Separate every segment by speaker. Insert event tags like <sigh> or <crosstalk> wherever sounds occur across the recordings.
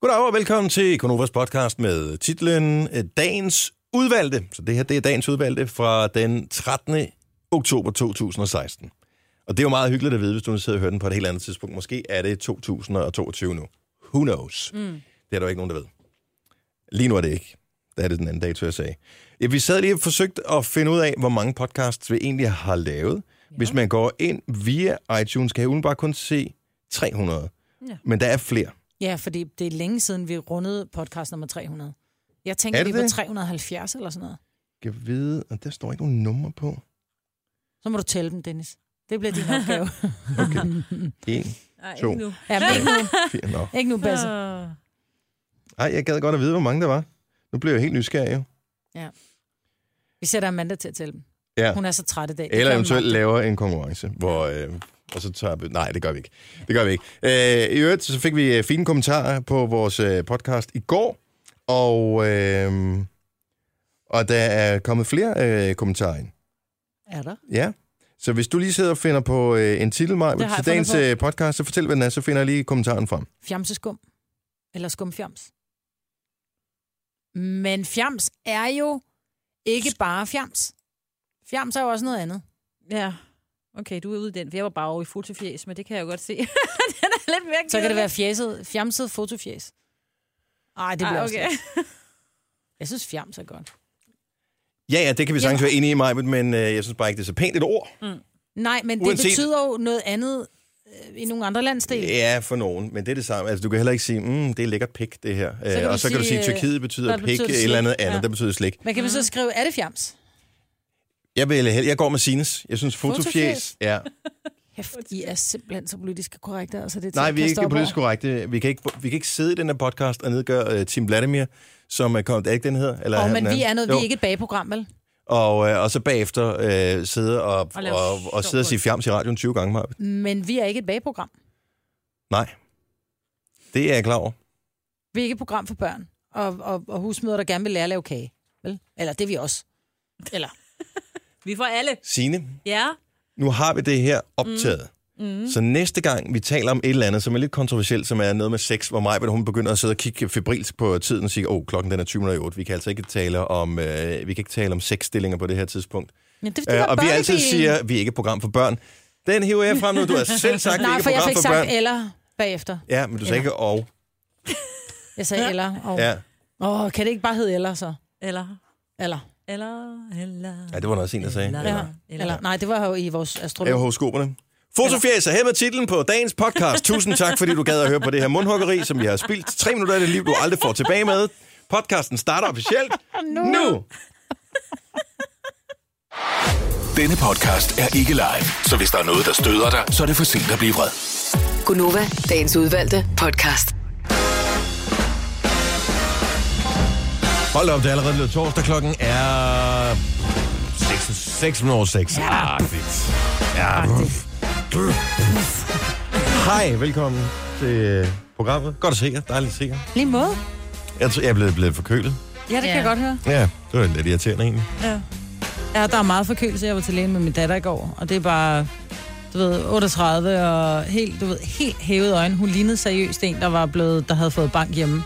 Speaker 1: Goddag og velkommen til Konovas podcast med titlen øh, Dagens Udvalgte. Så det her, det er Dagens Udvalgte fra den 13. oktober 2016. Og det er jo meget hyggeligt at vide, hvis du nu sidder og hører den på et helt andet tidspunkt. Måske er det 2022 nu. Who knows? Mm. Det er der jo ikke nogen, der ved. Lige nu er det ikke. Der er det den anden dato, jeg sagde. Ja, vi sad lige og forsøgte at finde ud af, hvor mange podcasts vi egentlig har lavet. Ja. Hvis man går ind via iTunes, kan jeg umiddelbart kun se 300. Ja.
Speaker 2: Ja.
Speaker 1: Men der er flere.
Speaker 2: Ja, fordi det er længe siden, vi rundede podcast nummer 300. Jeg tænker,
Speaker 1: Er
Speaker 2: vi
Speaker 1: det
Speaker 2: var
Speaker 1: det?
Speaker 2: 370 eller sådan noget.
Speaker 1: Kan jeg vide, og der står ikke nogen nummer på.
Speaker 2: Så må du tælle dem, Dennis. Det
Speaker 1: <laughs>
Speaker 2: bliver din opgave.
Speaker 1: Okay. 1,
Speaker 3: Nej,
Speaker 1: To. <laughs>
Speaker 3: nu.
Speaker 2: ja, men ikke nu,
Speaker 1: 4, nå.
Speaker 2: ikke nu Basse.
Speaker 3: Ah.
Speaker 1: Ej, jeg gad godt at vide, hvor mange der var. Nu bliver jeg helt nysgerrig. jo.
Speaker 2: Vi sætter Amanda til at tælle dem.
Speaker 1: Ja.
Speaker 2: Hun er så træt i dag. Det kan
Speaker 1: Eller
Speaker 2: hun
Speaker 1: eventuelt
Speaker 2: magte.
Speaker 1: laver en konkurrence, hvor... Øh, og så tager vi... Nej, det gør vi ikke. Det gør vi ikke. Øh, I øvrigt, så fik vi øh, fine kommentarer på vores øh, podcast i går, og, øh, og der er kommet flere øh, kommentarer ind.
Speaker 2: Er der?
Speaker 1: Ja. Så hvis du lige sidder og finder på øh, en titel, Maj,
Speaker 2: Det har
Speaker 1: til
Speaker 2: jeg
Speaker 1: dagens
Speaker 2: fundet
Speaker 1: øh, podcast, så fortæl, hvad den er, så finder jeg lige kommentaren frem.
Speaker 2: Fjamseskum. Eller skumfjams. Men fjams er jo ikke bare fjams. Fjams er jo også noget andet.
Speaker 3: Ja. Okay, du er ude i den. for Jeg var bare over i fotofjæs, men det kan jeg jo godt se. <laughs> den er lidt mere
Speaker 2: Så kan det være fjeset, fjamset fotofjes. Ej, det bliver
Speaker 3: ah,
Speaker 2: også
Speaker 3: okay.
Speaker 2: lidt. Jeg synes, fjams er godt.
Speaker 1: Ja, ja, det kan vi sagtens være enige i, Maj, men øh, jeg synes bare ikke, det er så pænt et ord.
Speaker 2: Nej, men det
Speaker 1: Uanset-
Speaker 2: betyder jo noget andet øh, i nogle andre landsdele. Yeah.
Speaker 1: Ja, for nogen, men det er det samme. Altså, du kan heller ikke sige, mm, det er lækkert pik, det her.
Speaker 2: kan
Speaker 1: Øh,
Speaker 2: du
Speaker 1: og så kan du sige,
Speaker 2: sige,
Speaker 1: at
Speaker 2: øh,
Speaker 1: Tyrkiet betyder
Speaker 2: hvad
Speaker 1: pik,
Speaker 2: betyder
Speaker 1: et
Speaker 2: slik?
Speaker 1: eller andet andet,
Speaker 2: Ja.
Speaker 1: der betyder slik.
Speaker 2: Men kan man så skrive, er det fjams?
Speaker 1: Jeg vil hel- jeg går med Sines. Jeg synes,
Speaker 2: Fotofjæs.
Speaker 1: fotofjæs... Ja.
Speaker 2: Hæft, I er simpelthen så politisk korrekte. Altså, det er til
Speaker 1: Nej,
Speaker 2: at
Speaker 1: vi er
Speaker 2: kaste
Speaker 1: ikke
Speaker 2: op over.
Speaker 1: politisk korrekte. Vi kan ikke, vi kan ikke sidde i den her podcast og nedgøre uh, Tim Vladimir, som er kommet... Er ikke den hedder? Eller
Speaker 2: Åh,
Speaker 1: han
Speaker 2: men
Speaker 1: den
Speaker 2: vi er noget, vi
Speaker 1: Jo.
Speaker 2: er ikke et bagprogram, vel?
Speaker 1: Og, øh, og så bagefter øh, sidde og,
Speaker 3: Og
Speaker 1: og,
Speaker 3: lave
Speaker 1: og, og,
Speaker 3: sjov
Speaker 1: sidde og
Speaker 3: på
Speaker 1: sige
Speaker 3: det.
Speaker 1: fjams i radioen 20 gange, Maja.
Speaker 2: Men vi er ikke et bagprogram.
Speaker 1: Nej. Det er jeg klar over.
Speaker 2: Vi er ikke et program for børn og, og, og husmøder, der gerne vil lære at lave kage. Vel? Eller det er vi også. Eller,
Speaker 3: Vi får alle.
Speaker 1: Signe,
Speaker 3: Ja.
Speaker 1: nu har vi det her optaget. Mm. Mm. Så næste gang, vi taler om et eller andet, som er lidt kontroversielt, som er noget med sex, hvor Maja, hun begynder at sidde og kigge febrilsk på tiden og sige, åh, oh, klokken den er 20 minutter i otte. vi kan altså ikke tale om, øh, vi kan ikke tale om sexstillinger på det her tidspunkt.
Speaker 2: men det, det
Speaker 1: Øh,
Speaker 2: var
Speaker 1: og vi altid
Speaker 2: børnedelen.
Speaker 1: siger, vi er ikke et program for børn. Den hiver jeg frem nu, du har selv sagt, vi er
Speaker 2: Nej,
Speaker 1: ikke
Speaker 2: for
Speaker 1: et
Speaker 2: jeg
Speaker 1: program
Speaker 2: fik
Speaker 1: for
Speaker 2: sagt
Speaker 1: børn.
Speaker 2: eller bagefter.
Speaker 1: Ja, men du sagde ikke og.
Speaker 2: Jeg sagde ja. eller. Og, ja.
Speaker 1: Ja.
Speaker 2: Åh, kan det ikke bare hedde eller så?
Speaker 3: Eller,
Speaker 2: Eller.
Speaker 3: eller, eller.
Speaker 1: ja, det var der også en, der sagde.
Speaker 3: Eller.
Speaker 1: Eller.
Speaker 2: Eller. eller. Nej, det var jo i vores
Speaker 1: Jeg
Speaker 2: astrologi.
Speaker 1: var hos skoberne. Fotofjæs er her med titlen på dagens podcast. Tusind tak, fordi du gad at høre på det her mundhuggeri, som vi har spildt. Tre minutter af det liv, du aldrig får tilbage med. Podcasten starter officielt nu. nu.
Speaker 4: Denne podcast er ikke live, så hvis der er noget, der støder dig, så er det for sent at blive vred.
Speaker 5: Gunova, dagens udvalgte podcast.
Speaker 1: Hold op, det er allerede blevet torsdag. Klokken er 6, 6 minutter over 6. Agtigt. Ja.
Speaker 2: Ah,
Speaker 1: Hej, velkommen til øh, programmet. Godt at se jer. Dejligt at se jer.
Speaker 2: Lige måde.
Speaker 1: Jeg tror, jeg er blevet, blevet forkølet.
Speaker 2: Ja, det kan jeg godt høre.
Speaker 1: Ja, det var lidt irriterende egentlig.
Speaker 2: Ja, der er meget forkølelse. Jeg var til lægen med min datter i går, og det er bare, du ved, 38 og helt, du ved, helt hævet øjne. Hun lignede seriøst en, der var blevet, der havde fået bank hjemme.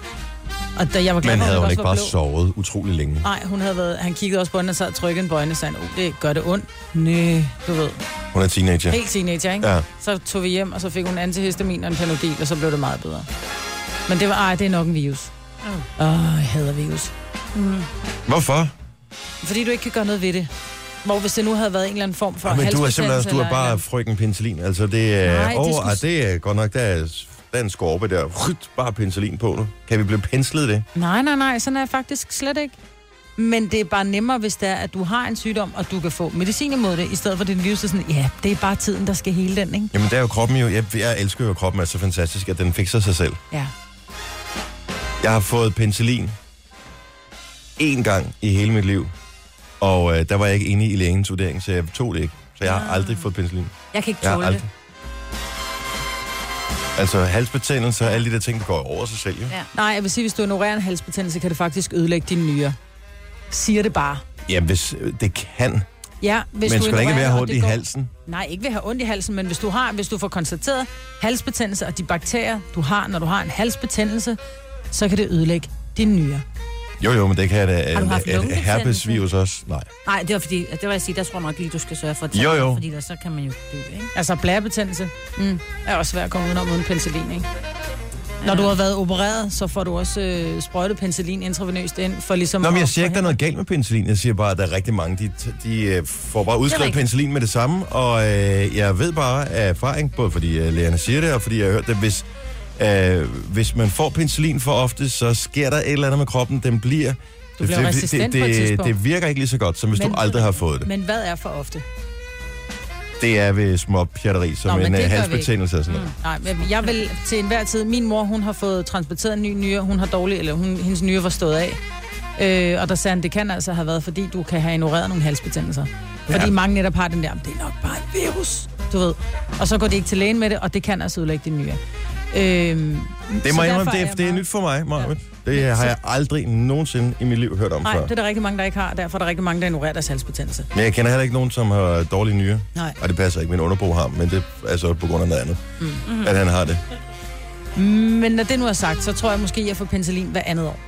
Speaker 2: Og da jeg var glad,
Speaker 1: Men
Speaker 2: for, at
Speaker 1: havde hun
Speaker 2: også
Speaker 1: ikke
Speaker 2: var
Speaker 1: bare
Speaker 2: blå. Ah.
Speaker 1: sovet utrolig længe?
Speaker 2: Nej, hun havde været, han kiggede også på hende og sad og trykkede en bøjne og sagde, oh, det gør det ondt. Næh, du ved.
Speaker 1: Hun er teenager.
Speaker 2: Helt teenager, ikke?
Speaker 1: Ja.
Speaker 2: Så tog vi hjem, og så fik hun antihistamin og en panodil, og så blev det meget bedre. Men det var, ej, det er nok en virus. Åh, oh. jeg hader virus.
Speaker 1: Hvorfor?
Speaker 2: Fordi du ikke kan gøre noget ved det. Hvor hvis det nu havde været en eller anden form for
Speaker 1: Ja, men du er simpelthen
Speaker 2: halsbetændelse
Speaker 1: også, du er
Speaker 2: eller en
Speaker 1: bare
Speaker 2: eller
Speaker 1: frøken penicillin. Altså, det er...
Speaker 2: Nej,
Speaker 1: Nej,
Speaker 2: det
Speaker 1: åh, det,
Speaker 2: skulle-
Speaker 1: det er godt nok, der er, der er en skorpe der. Ryt, bare penicillin på nu. Kan vi blive penslet i det?
Speaker 2: anden. Nej, nej, nej, sådan er jeg faktisk slet ikke. Men det er bare nemmere, hvis det er, at du har en sygdom, og du kan få medicin imod det, i stedet for at din virus er sådan, ja, det er bare tiden, der skal hele den, ikke?
Speaker 1: Jamen, der er jo kroppen jo... Jeg, jeg elsker jo, at kroppen er så fantastisk, at den fikser sig selv.
Speaker 2: Ja.
Speaker 1: Jeg har fået penicillin én gang i hele mit liv. Og øh, der var jeg ikke enig i lægens vurdering, så jeg tog det ikke. Så jeg har
Speaker 2: Ah.
Speaker 1: aldrig fået penicillin.
Speaker 3: Jeg kan ikke
Speaker 1: Jeg har
Speaker 3: tåle det.
Speaker 1: aldrig. Altså halsbetændelse og alle de der ting, der går over sig selv, jo.
Speaker 3: Ja.
Speaker 2: Nej, jeg vil sige, hvis du ignorerer en halsbetændelse, kan det faktisk ødelægge dine nyrer. Siger det bare.
Speaker 1: Ja, hvis, øh, det kan.
Speaker 2: Ja, hvis
Speaker 1: Hvis men
Speaker 2: du
Speaker 1: skal der ikke
Speaker 2: ignorerer
Speaker 1: være
Speaker 2: det, og
Speaker 1: hårdt
Speaker 2: det
Speaker 1: i
Speaker 2: går-
Speaker 1: halsen?
Speaker 2: Nej, ikke ved at have ondt i halsen, men hvis du, har, hvis du får konstateret halsbetændelse og de bakterier, du har, når du har en halsbetændelse, så kan det ødelægge dine nyrer.
Speaker 1: Jo, jo, men det kan et,
Speaker 3: Har du haft
Speaker 1: et, et
Speaker 3: lungebetændelse?
Speaker 1: herpesvirus også. Nej.
Speaker 3: Nej, det var fordi, at det var jeg sige, der tror jeg nok lige, du skal sørge for at tage
Speaker 1: Jo, jo.
Speaker 3: det, fordi der, så kan man jo dø, ikke?
Speaker 2: Altså blærebetændelse mm. er også svært at komme udenom uden penicillin, ikke? Når du har været opereret, så får du også øh, sprøjtet penicillin intravenøst ind, for ligesom...
Speaker 1: Nå, men jeg
Speaker 2: at
Speaker 1: siger ikke, der er noget galt med penicillin. Jeg siger bare, at der er rigtig mange, de, de øh, får bare udskrevet
Speaker 3: rigtigt.
Speaker 1: penicillin med det samme. Og øh, jeg ved bare af erfaring, både fordi øh, lægerne siger det, og fordi jeg har hørt det, hvis, øh, hvis man får penicillin for ofte, så sker der et eller andet med kroppen. Den bliver...
Speaker 2: Du bliver resistent
Speaker 1: det,
Speaker 2: på et
Speaker 1: det,
Speaker 2: tidspunkt.
Speaker 1: det virker ikke lige så godt, som hvis men,
Speaker 2: Men-
Speaker 1: du aldrig har fået det. Men,
Speaker 2: Men hvad er for ofte?
Speaker 1: det er ved små pjatteri, som
Speaker 2: Nå, men
Speaker 1: en øh,
Speaker 2: det gør vi
Speaker 1: halsbetændelse og sådan noget.
Speaker 2: Nej, men jeg vil til enhver tid... Min mor, hun har fået transporteret en ny nyre. Hun har dårlig... Eller hun, hendes nyre var stået af. Øh, og der sagde han, det kan altså have været, fordi du kan have ignoreret nogle halsbetændelser. Fordi
Speaker 1: Ja.
Speaker 2: mange netop har den der, det er nok bare et virus, du ved. Og så går de ikke til lægen med det, og det kan altså ødelægge din nyre. Øhm,
Speaker 1: Det
Speaker 2: så
Speaker 1: må jeg
Speaker 2: derfor
Speaker 1: indrømme, det,
Speaker 2: jeg
Speaker 1: er, det er
Speaker 2: meget-
Speaker 1: nyt for mig, Marvind. Det har jeg aldrig nogensinde i mit liv hørt om
Speaker 2: Nej,
Speaker 1: før.
Speaker 2: det er der rigtig mange, der ikke har. Derfor er der rigtig mange, der ignorerer deres halsbetændelse.
Speaker 1: Men jeg kender heller ikke nogen, som har dårlige nyrer.
Speaker 2: Nej.
Speaker 1: Og det passer ikke, min underbo har, men det er så på grund af noget andet, mm. at han har det.
Speaker 2: Men når det nu er sagt, så tror jeg måske, at jeg får penicillin hver andet år.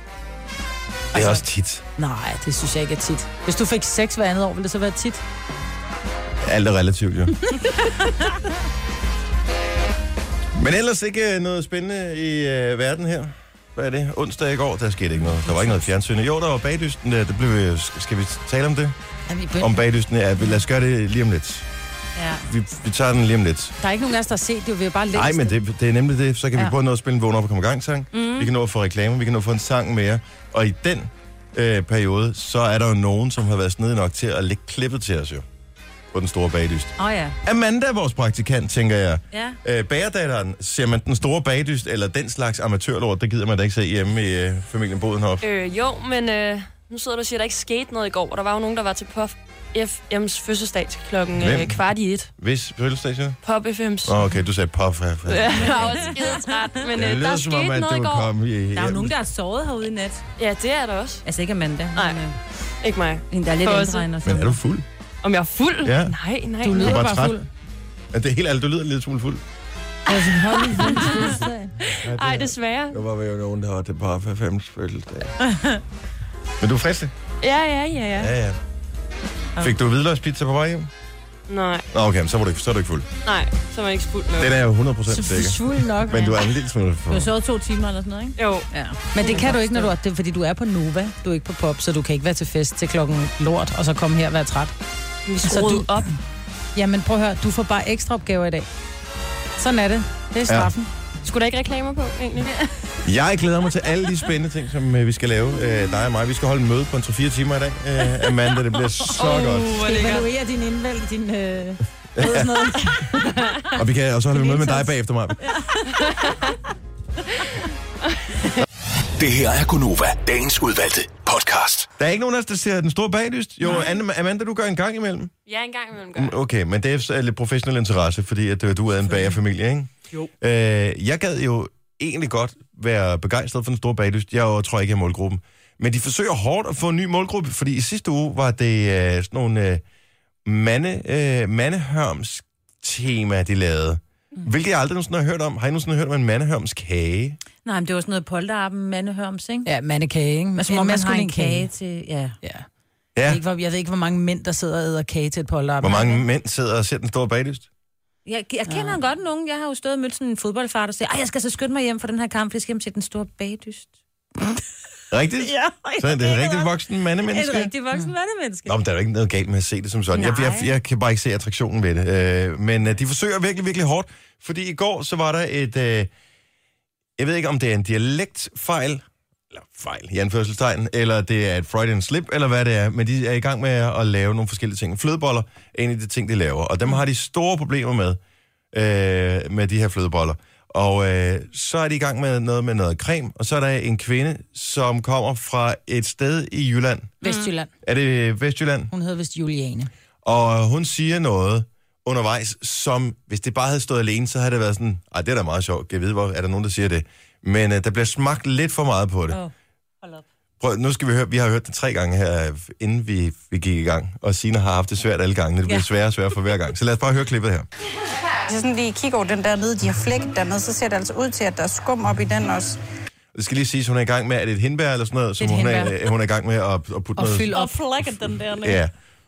Speaker 1: Det er også tit.
Speaker 2: Nej, det synes jeg ikke er tit. Hvis du fik sex hver andet år, ville det så være tit?
Speaker 1: Alt er relativt, <laughs> jo. men ellers ikke øh, noget spændende i øh, verden her. Hvad er det? Onsdag i går, der skete ikke noget. Der var ikke noget fjernsyn. Jo, der var bagdysten. Der, det blev, øh, skal vi tale om det?
Speaker 2: Jamen, i bøn.
Speaker 1: Om bagdysten. Ja, lad os gøre det lige om lidt.
Speaker 3: Ja.
Speaker 1: Vi, vi tager den lige om lidt.
Speaker 2: Der er ikke nogen af os, der har set det. jo. Vi har bare læst
Speaker 1: Nej, men
Speaker 2: det.
Speaker 1: det, det er nemlig det. Så kan ja. vi
Speaker 2: Ja.
Speaker 1: både nå at spille en vågen op og komme i gang sang. Mm. Vi kan nå at få reklamer, vi kan nå at få en sang mere. Og i den øh, periode, så er der jo nogen, som har været snedig nok til at lægge klippet til os jo. På den store bagdyst.
Speaker 3: Åh oh, ja.
Speaker 1: Amanda, vores praktikant, tænker jeg.
Speaker 3: Ja.
Speaker 1: Øh, bagerdatteren, ser man den store bagdyst eller den slags amatørlort, det gider man da ikke se hjemme i øh, familien Bodenhof.
Speaker 6: Øh, jo, men øh, nu sidder du og siger, at der ikke skete noget i går, og der var jo nogen, der var til Pop FM's fødselsdag til klokken
Speaker 1: Hvem?
Speaker 6: øh, kvart i et.
Speaker 1: Hvis fødselsdagen?
Speaker 6: Pop FM's.
Speaker 1: Åh, okay, du sagde puff. Ja, ja.
Speaker 6: Ja, jeg var også skidetræt, men
Speaker 1: Det
Speaker 6: øh,
Speaker 1: lyder
Speaker 6: der
Speaker 1: som om,
Speaker 6: skete
Speaker 1: at
Speaker 6: noget
Speaker 1: du
Speaker 6: i går.
Speaker 1: kom i...
Speaker 3: Der er jo nogen, der er såret herude i nat.
Speaker 6: Ja, det er der også.
Speaker 3: Altså ikke Amanda.
Speaker 6: Nej.
Speaker 3: Men, øh,
Speaker 6: Ikke mig.
Speaker 3: hende, der er lidt
Speaker 6: Fosse.
Speaker 3: ældre end os.
Speaker 1: Men er du fuld?
Speaker 6: Om jeg er fuld?
Speaker 1: Ja.
Speaker 6: Nej, nej.
Speaker 2: Du
Speaker 6: nej.
Speaker 2: lyder
Speaker 1: bare
Speaker 2: bare
Speaker 1: træt.
Speaker 2: fuld.
Speaker 1: Ja, det er helt alt, du lyder lidt smule fuld.
Speaker 2: Altså, hold i fuld.
Speaker 6: Ej, desværre.
Speaker 1: Der var jo nogen, der var det bare for fems fødselsdag. <laughs> Men du er frisk?
Speaker 6: Ja, ja, ja, ja.
Speaker 1: Ja, ja. Fik du hvidløgspizza på vej hjem?
Speaker 6: Nej,
Speaker 1: Nå, okay, men så, var du, ikke- så er du ikke fuld.
Speaker 6: nej. Så var jeg ikke fuldt
Speaker 1: Den
Speaker 6: noget.
Speaker 1: er jo 100%
Speaker 2: Så
Speaker 1: sikker.
Speaker 2: fuld nok.
Speaker 1: Men du er en lille smule
Speaker 3: Du
Speaker 1: fuld.
Speaker 3: har såret to timer eller sådan noget, ikke?
Speaker 6: Jo,
Speaker 3: Ja.
Speaker 2: Men det kan du ikke, når du er, det, er fordi du er på Nova. Du er ikke på pop, så du kan ikke være til fest til klokken lort, og så komme her og være træt.
Speaker 6: vi
Speaker 2: Så
Speaker 6: skruede
Speaker 2: du-
Speaker 6: op.
Speaker 2: Jamen prøv at høre, du får bare ekstra opgaver i dag. Sådan er det. Det er straffen. Ja.
Speaker 6: Skulle der ikke reklamer på, egentlig?
Speaker 1: Jeg glæder mig til alle de spændende ting, som øh, vi skal lave. Øh, dig og mig. Vi skal holde en møde på en 3-4 timer i dag. Øh, Amanda, det bliver så godt.
Speaker 6: hvor lækkert.
Speaker 2: Evaluere din indvalg, din...
Speaker 1: <laughs>
Speaker 2: Øh, sådan noget.
Speaker 1: Og vi kan også holde en møde med dig bagefter mig.
Speaker 4: Det her er Gonova, dagens udvalgte podcast.
Speaker 1: Der er ikke nogen af os, der ser den store baglyst. Jo, Anne- Amanda, du gør en gang imellem.
Speaker 6: Ja, en gang imellem gør jeg.
Speaker 1: Okay, men det er så lidt professionel interesse, fordi at øh, du er en bagerfamilie, ikke? Jo. Øh, jeg gad jo egentlig godt være begejstret for den store baglyst. Jeg er jo- tror ikke, jeg er målgruppen. Men de forsøger hårdt at få en ny målgruppe, fordi i sidste uge var det øh, sådan nogle øh, mande, øh, mandehørms-tema, de lavede. Hvilket jeg aldrig nogensinde har hørt om. Har I nogensinde hørt om en mandehørmskage?
Speaker 3: Nej, men det var sådan noget polterappen, mandehørms, ikke?
Speaker 2: Ja, mandekage, ikke?
Speaker 3: Men som om altså, man har en kage til... Ja.
Speaker 2: Ja. Jeg, ved
Speaker 1: Ja.
Speaker 2: ikke, hvor, jeg ved ikke, hvor mange mænd, der sidder og æder kage til et polterab.
Speaker 1: Hvor mange mænd sidder og ser den store baglyst?
Speaker 3: Jeg, jeg kender ja. godt nogen. Jeg har jo stået og mødt sådan en fodboldfar, der siger, at jeg skal så skynde mig hjem for den her kamp, for jeg skal hjem til den store bagdyst.
Speaker 1: Rigtigt? Så er det et rigtigt voksen mandemenneske?
Speaker 3: Et rigtig voksen mandemenneske.
Speaker 1: Nå, men der er jo ikke noget galt med at se det som sådan. Jeg,
Speaker 3: Nej.
Speaker 1: jeg, jeg kan bare ikke se attraktionen ved det. Øh, men øh, de forsøger virkelig, virkelig hårdt. Fordi i går, så var der et... Øh, jeg ved ikke, om det er en dialektfejl, eller fejl i anførselstegn, eller det er et Freudian slip, eller hvad det er, men de er i gang med at lave nogle forskellige ting. Flødeboller er en af de ting, de laver, og dem har de store problemer med, øh, med de her flødeboller. Og øh, så er de i gang med noget med noget creme, og så er der en kvinde, som kommer fra et sted i Jylland.
Speaker 2: Vestjylland.
Speaker 1: Er det Vestjylland?
Speaker 2: Hun hedder vist Juliane.
Speaker 1: Og øh, hun siger noget undervejs, som hvis det bare havde stået alene, så havde det været sådan, ej, det er da meget sjovt, jeg ved, hvor er der nogen, der siger det. Men øh, der bliver smagt lidt for meget på det. Oh. Prøv, nu skal vi høre, vi har hørt det tre gange her, øh, inden vi, vi gik i gang, og Sina har haft det svært alle gange, det bliver ja. sværere og sværere for hver gang. Så lad os bare høre klippet her.
Speaker 7: Hvis jeg sådan lige kigger over den der nede, de har flækket dernede, så ser det altså ud til, at der er skum op i den også.
Speaker 1: Det skal lige sige, hun er i gang med, er det et hindbær eller sådan noget, som
Speaker 2: Et
Speaker 1: hun er, øh,
Speaker 2: hindbær.
Speaker 1: hun er i gang med at, at putte
Speaker 2: Og
Speaker 1: noget...
Speaker 2: fyld op.
Speaker 7: Og flækket den der ned.
Speaker 1: Ja,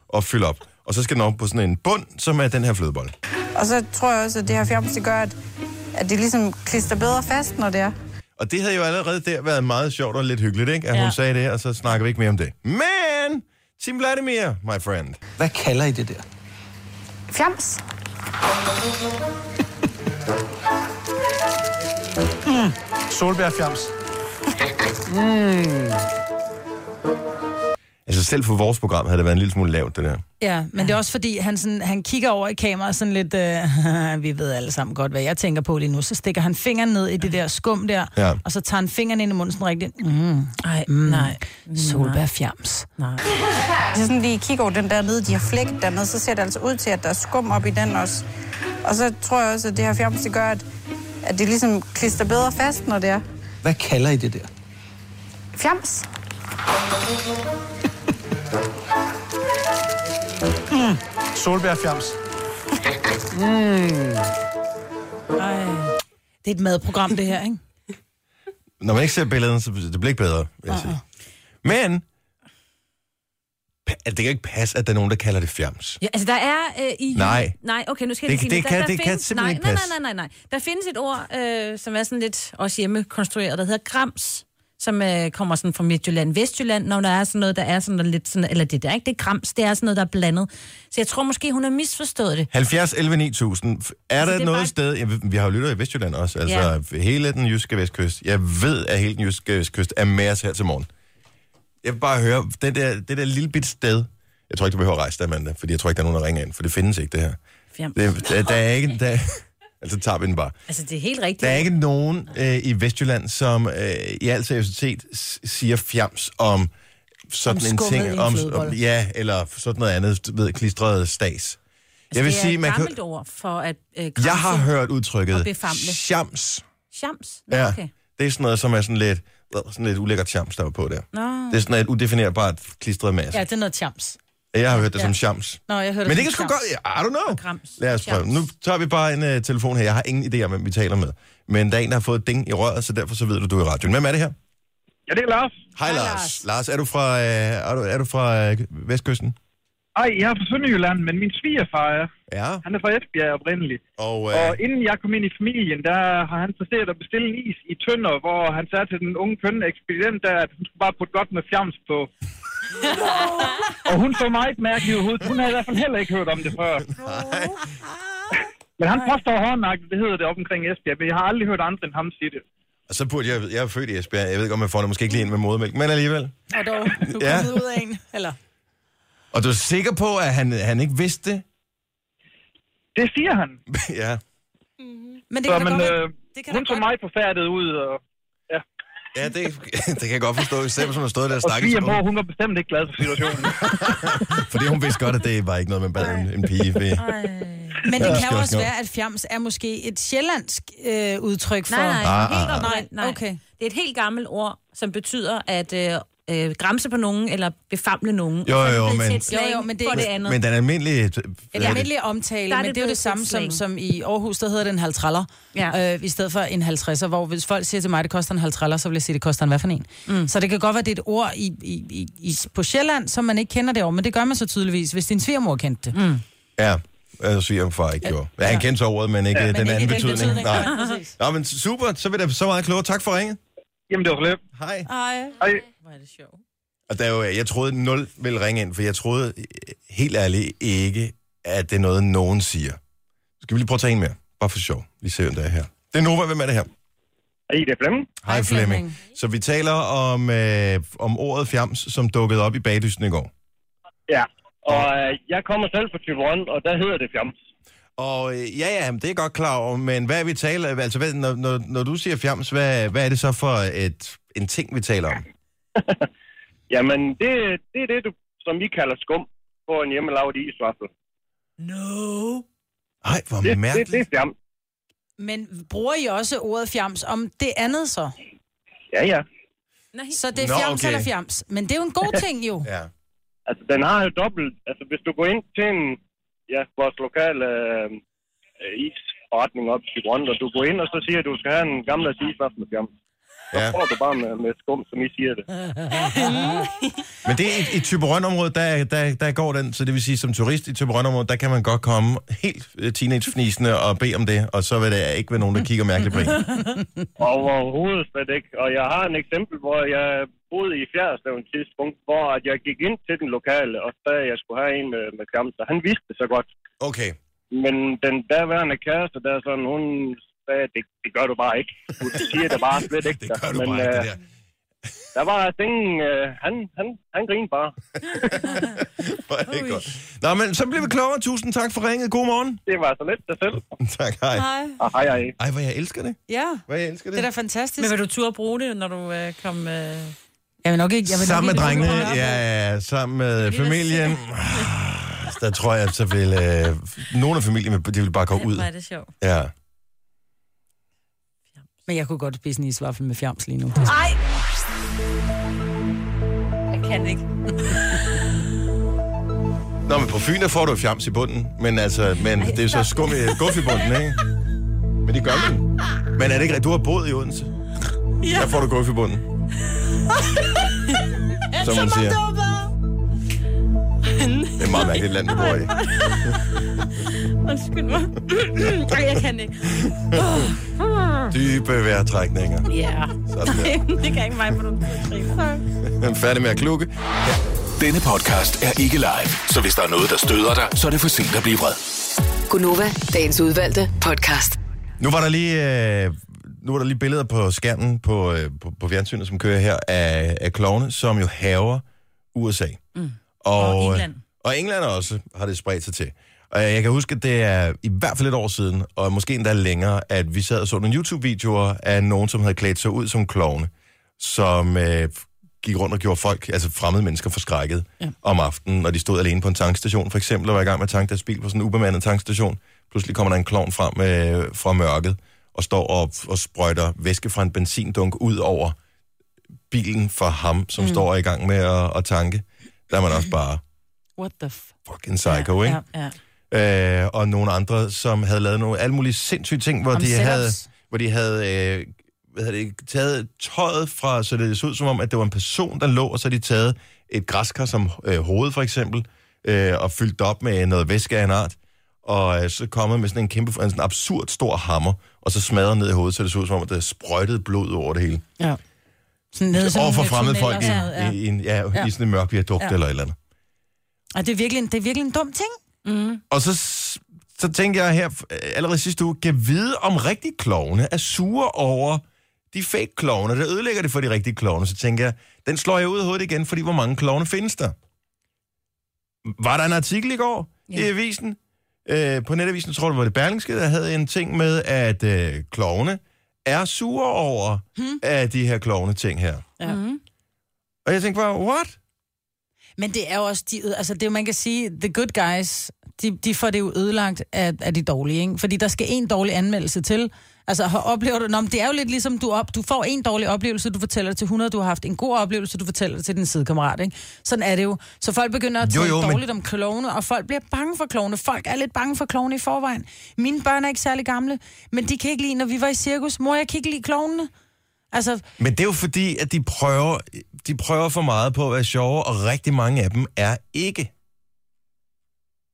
Speaker 1: og fylde op. Og så skal den op på sådan en bund, som er den her flødebolle.
Speaker 8: Og så tror jeg også, at det her fjoms, det gør, at, at det ligesom klister bedre fast, når det er.
Speaker 1: Og det havde jo allerede der været meget sjovt og lidt hyggeligt, ikke? At ja. hun sagde det, og så snakker vi ikke mere om det. Men, Tim Vladimir, my friend.
Speaker 9: Hvad kalder I det der?
Speaker 8: Fjams.
Speaker 9: Solbærfjams.
Speaker 1: Altså selv for vores program havde det været en lille smule lavt, det der.
Speaker 2: Ja, men det er også fordi, han, sådan, han kigger over i kameraet sådan lidt, øh, <laughs> vi ved alle sammen godt, hvad jeg tænker på lige nu. Så stikker han fingeren ned i det der skum der,
Speaker 1: Ja.
Speaker 2: og så tager han fingeren ind i munden sådan rigtigt. Mm,
Speaker 3: Nej, nej.
Speaker 2: solbærfjams.
Speaker 8: Hvis jeg sådan lige kigger over den der nede, de har flækket dernede, så ser det altså ud til, at der er skum op i den også. Og så tror jeg også, at det her fjoms, det gør, at, at det ligesom klister bedre fast, når det er.
Speaker 9: Hvad kalder I det der?
Speaker 8: Fjams.
Speaker 9: Solbærfjams.
Speaker 2: Ej. Det er et madprogram, det her, ikke?
Speaker 1: Når man ikke ser billederne, så det bliver ikke bedre, vil jeg sige. Men, pa- det kan ikke passe, at der er nogen, der kalder det fjams.
Speaker 3: Ja, altså, der er øh, i...
Speaker 1: Nej.
Speaker 3: Nej, okay, nu skal jeg
Speaker 1: Det-
Speaker 3: lige sige
Speaker 1: det kan-
Speaker 3: der, der
Speaker 1: det kan simpelthen
Speaker 3: nej,
Speaker 1: ikke
Speaker 3: nej,
Speaker 1: passe.
Speaker 3: nej, nej, nej, nej. Der findes et ord, øh, som er sådan lidt også hjemmekonstrueret, der hedder grams, som øh, kommer sådan fra Midtjylland, Vestjylland, når der er sådan noget, der er sådan noget lidt sådan... Eller det der, ikke? Det er grams, det er sådan noget, der er blandet. Så jeg tror måske, hun har misforstået det.
Speaker 1: 70, 11, 9000. Er der
Speaker 3: Altså, det er
Speaker 1: noget
Speaker 3: bare-
Speaker 1: sted... Ja, vi- vi har jo lyttet i Vestjylland også, altså hele den jyske vestkyst. Jeg ved, at hele den jyske vestkyst er med os her til morgen. Jeg vil bare høre, det der, det der lille bit sted... Jeg tror ikke, du behøver at rejse der, Amanda, fordi jeg tror ikke, der er nogen, der ringer ind, for det findes ikke, det her.
Speaker 3: Fjams.
Speaker 1: Det, der, der er ikke... Der, altså, tager vi den bare.
Speaker 3: Altså, det er helt rigtigt.
Speaker 1: Der er ikke nogen øh, i Vestjylland, som øh, i al seriøsitet s- siger fjams om sådan
Speaker 2: Om
Speaker 1: en
Speaker 2: skummet i
Speaker 1: ting.
Speaker 2: en flødebolle.
Speaker 1: ja, eller sådan noget andet, du ved, klistret stags. Altså, jeg vil
Speaker 3: det er
Speaker 1: sige,
Speaker 3: et
Speaker 1: man kan,
Speaker 3: gammelt ord for at øh,
Speaker 1: jeg
Speaker 3: gramse.
Speaker 1: har hørt
Speaker 3: Og
Speaker 1: udtrykket
Speaker 3: befamle.
Speaker 1: sjams.
Speaker 3: Shams? Nå,
Speaker 1: Ja,
Speaker 3: Okay.
Speaker 1: Det er sådan noget, som er sådan lidt, øh, sådan lidt ulækkert sjams, der var på der.
Speaker 3: Nå.
Speaker 1: Det er sådan et udefinerbart klistret masse.
Speaker 2: Ja, det er noget chams.
Speaker 1: Jeg har hørt det
Speaker 2: Ja.
Speaker 1: som sjams.
Speaker 2: Nå, jeg hørte
Speaker 1: Men det
Speaker 2: som
Speaker 1: kan sgu
Speaker 2: chams.
Speaker 1: godt... I don't know.
Speaker 3: grams.
Speaker 1: Lad os prøve.
Speaker 3: Grams.
Speaker 1: Nu tager vi bare en uh, telefon her. Jeg har ingen idé om, hvem vi taler med. Men der er en, der har fået et ding i røret, så derfor så ved du, du er i radioen. Hvem er det her?
Speaker 10: Ja, det er Lars.
Speaker 1: Hej, Lars. Lars.
Speaker 2: Lars.
Speaker 1: Lars, er du fra, øh, er du, er du fra øh, Vestkysten?
Speaker 10: Ej, jeg er fra Sønderjylland, men min svigerfar er.
Speaker 1: Ja.
Speaker 10: Han er fra Esbjerg oprindeligt.
Speaker 1: Og,
Speaker 10: Ja.
Speaker 1: øh,
Speaker 10: Og inden jeg kom ind i familien, der har han præsteret at bestille en is i Tønder, hvor han sagde til den unge kønne ekspedient, der, at hun skulle bare putte godt med fjams på. og hun så meget mærkelig ud. Hun havde i hvert fald heller ikke hørt om det før. Men han påstår hårdnagt, det hedder det op omkring Esbjerg, men jeg har aldrig hørt andre end ham sige det.
Speaker 1: og så burde jeg... Jeg er født i Esbjerg. Jeg ved godt, man får det måske ikke lige ind med modermælk, men alligevel.
Speaker 2: Og dog, du
Speaker 1: Ja.
Speaker 2: ja. ud af en. Eller,
Speaker 1: Og du er sikker på, at han, han ikke vidste det?
Speaker 10: Det siger han.
Speaker 1: <laughs> ja.
Speaker 2: men det
Speaker 10: Så,
Speaker 2: kan da
Speaker 10: men
Speaker 2: godt være-
Speaker 10: øh,
Speaker 2: det kan da
Speaker 10: hun så
Speaker 2: godt-
Speaker 10: meget forfærdet ud, og,
Speaker 1: Ja, det, <laughs> det kan jeg godt forstå. Især hvis hun har stået der og
Speaker 10: og
Speaker 1: snakket til
Speaker 10: svigermor,
Speaker 1: nogen.
Speaker 10: hun var bestemt ikke glad for situationen. <laughs>
Speaker 1: Fordi hun vidste godt, at det var ikke noget, man bad en, en pige ved.
Speaker 3: Øh,
Speaker 1: øh,
Speaker 2: Men det
Speaker 1: Ja.
Speaker 2: kan jo også
Speaker 1: Skørt.
Speaker 2: være, at fjams er måske et sjællandsk øh, udtryk for...
Speaker 3: Nej, nej,
Speaker 1: Ah,
Speaker 3: ah, helt
Speaker 1: ah,
Speaker 3: ah, nej, nej.
Speaker 2: okay.
Speaker 3: Det er et helt gammelt ord, som betyder at øh, øh, græmse på nogen, eller befamle nogen.
Speaker 1: Jo,
Speaker 3: Og så er det
Speaker 1: jo,
Speaker 3: blevet
Speaker 1: men-
Speaker 3: til et slang
Speaker 2: Jo, jo, men det er
Speaker 3: for det
Speaker 2: ikke-
Speaker 3: andet.
Speaker 1: Men den almindelige...
Speaker 2: En almindelig omtale,
Speaker 3: Der er
Speaker 2: men
Speaker 3: det
Speaker 2: det er jo
Speaker 3: blevet
Speaker 2: det samme
Speaker 3: til
Speaker 2: som,
Speaker 3: slang.
Speaker 2: som i Aarhus, der hedder den 50'er,
Speaker 3: Ja.
Speaker 2: ja. øh, i stedet for en 50'er, hvor hvis folk siger til mig, at det koster en 50'er, så vil jeg sige, at det koster en hvad for en. Mm. Så det kan godt være, at det er et ord i, i, i, i, på Sjælland, som man ikke kender det over, men det gør man så tydeligvis, hvis din svigermor kendte det. Mm.
Speaker 1: Ja, altså svigerfar ikke gjorde. Ja, han kendte så ordet, men ikke ja, den
Speaker 2: Men
Speaker 1: anden
Speaker 2: ikke i
Speaker 1: betydning. Nej.
Speaker 2: Nej, præcis.
Speaker 1: Nå, men super, så er det så meget klogere. Tak for ringet.
Speaker 10: Jamen, det var for lidt.
Speaker 1: Hej.
Speaker 10: Hej.
Speaker 2: Hvor er det sjovt.
Speaker 1: Og der er jo, jeg troede, nul ville ringe ind, for jeg troede øh, helt ærligt ikke, at det er noget, nogen siger. Skal vi lige prøve at tage en mere? Bare for sjov. Vi ser, hvem der er her. Det er Nova, hvem er det her?
Speaker 10: Hej, det er Flemming.
Speaker 1: Hej Flemming. Flemming. Så vi taler om, øh, om ordet fjams, som dukkede op i bagdysten i går.
Speaker 10: Ja, og øh, jeg kommer selv fra Thyborøn, og der hedder det fjams.
Speaker 1: Og øh, ja, ja, men det er jeg godt klar over, men hvad er vi taler Altså, hvad, når, når, når du siger fjams, hvad, hvad er det så for et, en ting, vi taler om?
Speaker 10: Jamen, det, det er det, du, som vi kalder skum på en hjemmelavet isvaffel.
Speaker 1: Ej, hvor
Speaker 10: Det, det, det
Speaker 1: mærkeligt.
Speaker 10: er fjams.
Speaker 2: Men bruger I også ordet fjams om det andet så?
Speaker 10: Ja, ja.
Speaker 3: Nej.
Speaker 2: Så det er
Speaker 1: Nå,
Speaker 2: fjams
Speaker 1: okay.
Speaker 2: eller fjams. Men det er jo en god ting jo.
Speaker 1: Ja.
Speaker 10: Altså, den har jo dobbelt... Altså, hvis du går ind til en... Ja, vores lokale øh, øh, isforretning op i Thyborøn, og du går ind, og så siger, at du skal have en gammel isvaffel med fjams.
Speaker 7: Så
Speaker 1: Ja.
Speaker 7: får du bare med, med skum, som I siger det.
Speaker 1: Men det er i, i Typerøn-området, der, der, der går den, så det vil sige, som turist i Typerøn-området, der kan man godt komme helt øh, teenagefnisende og bede om det, og så vil der ikke være nogen, der kigger mærkeligt på en.
Speaker 7: Og overhovedet slet ikke. Og jeg har en eksempel, hvor jeg boede i Fjerderslev en tidspunkt, hvor at jeg gik ind til den lokale og sagde, at jeg skulle have en med, med klamser. Han vidste det så godt.
Speaker 1: Okay.
Speaker 7: Men den derværende kæreste, der er sådan, hun sagde, at det, det gør du bare ikke. Du siger det bare slet
Speaker 10: <laughs>
Speaker 7: ikke. det gør du Men, bare
Speaker 10: øh,
Speaker 7: ikke, det der. Der var altså ingen... Øh, han, han, han grinede bare.
Speaker 1: <laughs> Hvor er det godt. Nå, men så bliver vi klogere. Tusind tak for ringet. God morgen.
Speaker 7: Det var så lidt dig selv.
Speaker 1: tak, hej.
Speaker 2: Hej.
Speaker 7: Og hej, hej.
Speaker 1: Ej, hvor jeg elsker det.
Speaker 2: Ja.
Speaker 1: Hvad jeg elsker det.
Speaker 2: Det er da fantastisk.
Speaker 3: Men vil du turde bruge det, når du øh, kom... Øh...
Speaker 2: Jeg vil nok ikke... Jeg vil
Speaker 1: Sammen med
Speaker 2: nok ikke,
Speaker 1: drengene, ja, ja, sammen med
Speaker 2: <laughs>
Speaker 1: familien. Ah, Der tror jeg, så vil... Øh, nogle af familien, vil- de vil bare gå ud.
Speaker 2: Hvor er det sjovt.
Speaker 1: Ja.
Speaker 2: Men jeg kunne godt spise en isvaffel med fjams lige nu.
Speaker 3: Nej! Jeg kan ikke.
Speaker 1: Nå, men på Fyn, der får du fjams i bunden. Men altså, men det er så skum i, øh, guf i bunden, ikke? Men det gør man. Men er det ikke rigtigt? Du har boet i Odense. Ja. Der får du guf i bunden. Som man siger. Det er et meget mærkeligt land, vi bor i.
Speaker 6: Undskyld
Speaker 3: <clears throat>
Speaker 6: mig. Ej, jeg kan ikke.
Speaker 1: Dybe vejrtrækninger.
Speaker 6: Ja.
Speaker 1: Sådan der.
Speaker 6: det kan ikke mig, for du
Speaker 1: Jeg er færdig med at klukke.
Speaker 4: Denne podcast er ikke live, så hvis der er noget, der støder dig, så er det for sent at blive vred.
Speaker 5: Gunova, dagens udvalgte podcast.
Speaker 1: Nu var der lige, øh, nu var der lige billeder på skærmen på, øh, på, på fjernsynet, som kører her, af, af klovne, som jo haver USA.
Speaker 3: Mm.
Speaker 1: Og,
Speaker 3: Og England.
Speaker 1: øh, Og England også har det spredt sig til. Og jeg kan huske, at det er i hvert fald et år siden, og måske endda længere, at vi sad og så nogle YouTube-videoer af nogen, som havde klædt sig ud som klovne, som øh, gik rundt og gjorde folk, altså fremmede mennesker, forskrækket ja. om aftenen, når de stod alene på en tankstation, for eksempel, og var i gang med at tanke deres bil på sådan en ubemandet tankstation. Pludselig kommer der en klovn frem øh, fra mørket, og står og, og sprøjter væske fra en benzindunk ud over bilen for ham, som mm. står i gang med at, at tanke. Der er man også bare
Speaker 2: What the f...
Speaker 1: fucking psycho, ja, ikke?
Speaker 2: Ja.
Speaker 1: Ja. Øh, og nogle andre, som havde lavet nogle alle mulige sindssyge ting, hvor
Speaker 2: Om
Speaker 1: de
Speaker 2: setups.
Speaker 1: havde, hvor de havde øh, hvad hedder det, taget tøjet fra, så det så ud som om, at det var en person, der lå, og så havde de taget et græskar som øh, hoved, for eksempel, øh, og fyldt det op med noget væske af en art, og øh, så kommet med sådan en kæmpe, en sådan absurd stor hammer, og så smadret ned i hovedet, så det så ud som om, at der sprøjtede blod over det hele.
Speaker 2: Ja. Sådan nede,
Speaker 1: Altså Over for
Speaker 2: sådan en
Speaker 1: fremmede
Speaker 2: tunnel
Speaker 1: folk
Speaker 2: og
Speaker 1: i,
Speaker 2: sådan noget,
Speaker 1: øh, ja.
Speaker 2: ja.
Speaker 1: i, i, en, ja, ja.
Speaker 2: Ja.
Speaker 1: i sådan en mørk viadukt ja.
Speaker 2: Ja.
Speaker 1: eller et eller andet.
Speaker 2: Og det er virkelig, en- det er virkelig en dum ting. Mm.
Speaker 1: Og så, så tænkte jeg her, øh, allerede sidste uge, kan vide om rigtige klovne er sure over de fake klovne, der ødelægger det for de rigtige klovne. Så tænker jeg, den slår jeg ud af hovedet igen, fordi hvor mange klovne findes der? Var der en artikel i går ja. i avisen? Øh, på netavisen, tror du, var det Berlingske, der havde en ting med, at øh, klovne er sure over hmm. af de her klovne ting her.
Speaker 2: Ja. Mm.
Speaker 1: Og jeg tænkte bare, what?
Speaker 2: Men det er jo også, de, øde- altså det man kan sige, the good guys, de, de får det jo ødelagt af, af de dårlige, ikke? Fordi der skal en dårlig anmeldelse til. Altså har- oplever du, nå, men det er jo lidt ligesom, du, op, du får en dårlig oplevelse, du fortæller det til 100, du har haft en god oplevelse, du fortæller det til din sidekammerat, ikke? Sådan er det jo. Så folk begynder at
Speaker 1: Jo,
Speaker 2: tale
Speaker 1: jo, men-
Speaker 2: dårligt om klovne, og folk bliver bange for klovne. Folk er lidt bange for klovne i forvejen. Mine børn er ikke særlig gamle, men de kan ikke lide, når vi var i cirkus, mor, jeg kan ikke lide klovnene. Altså,
Speaker 1: Men det er jo fordi, at de prøver, de prøver for meget på at være sjove, og rigtig mange af dem er ikke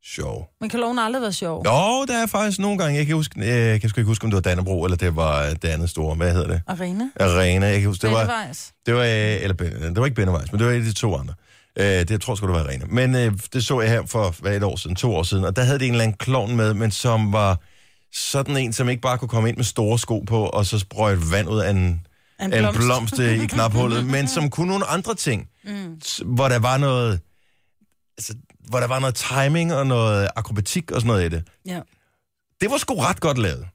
Speaker 1: sjove.
Speaker 2: men klovne har aldrig været sjov.
Speaker 1: Jo, der er faktisk nogle gange, jeg kan, huske, øh, jeg kan sgu ikke huske, om det var Dannebro, eller det var øh, det andet store, hvad hedder det?
Speaker 2: Arena?
Speaker 1: Arena, jeg kan huske, det var,
Speaker 2: Bennevejs.
Speaker 1: det var, øh, eller, Ben- det var ikke Bindevejs, men det var et af de to andre. Øh, det jeg tror sgu, det var Arena. Men øh, det så jeg her for hvad, et år siden, to år siden, og der havde det en eller anden klovn med, men som var sådan en, som ikke bare kunne komme ind med store sko på, og så sprøjte vand ud af en,
Speaker 2: Af
Speaker 1: en,
Speaker 2: en
Speaker 1: en
Speaker 2: blomst.
Speaker 1: blomst
Speaker 3: <laughs>
Speaker 1: øh, i knaphullet, men som kunne nogle andre ting, mm. hvor der var noget, altså, hvor der var noget timing og noget akrobatik og sådan noget i det.
Speaker 2: Ja.
Speaker 1: Det var sgu ret godt lavet.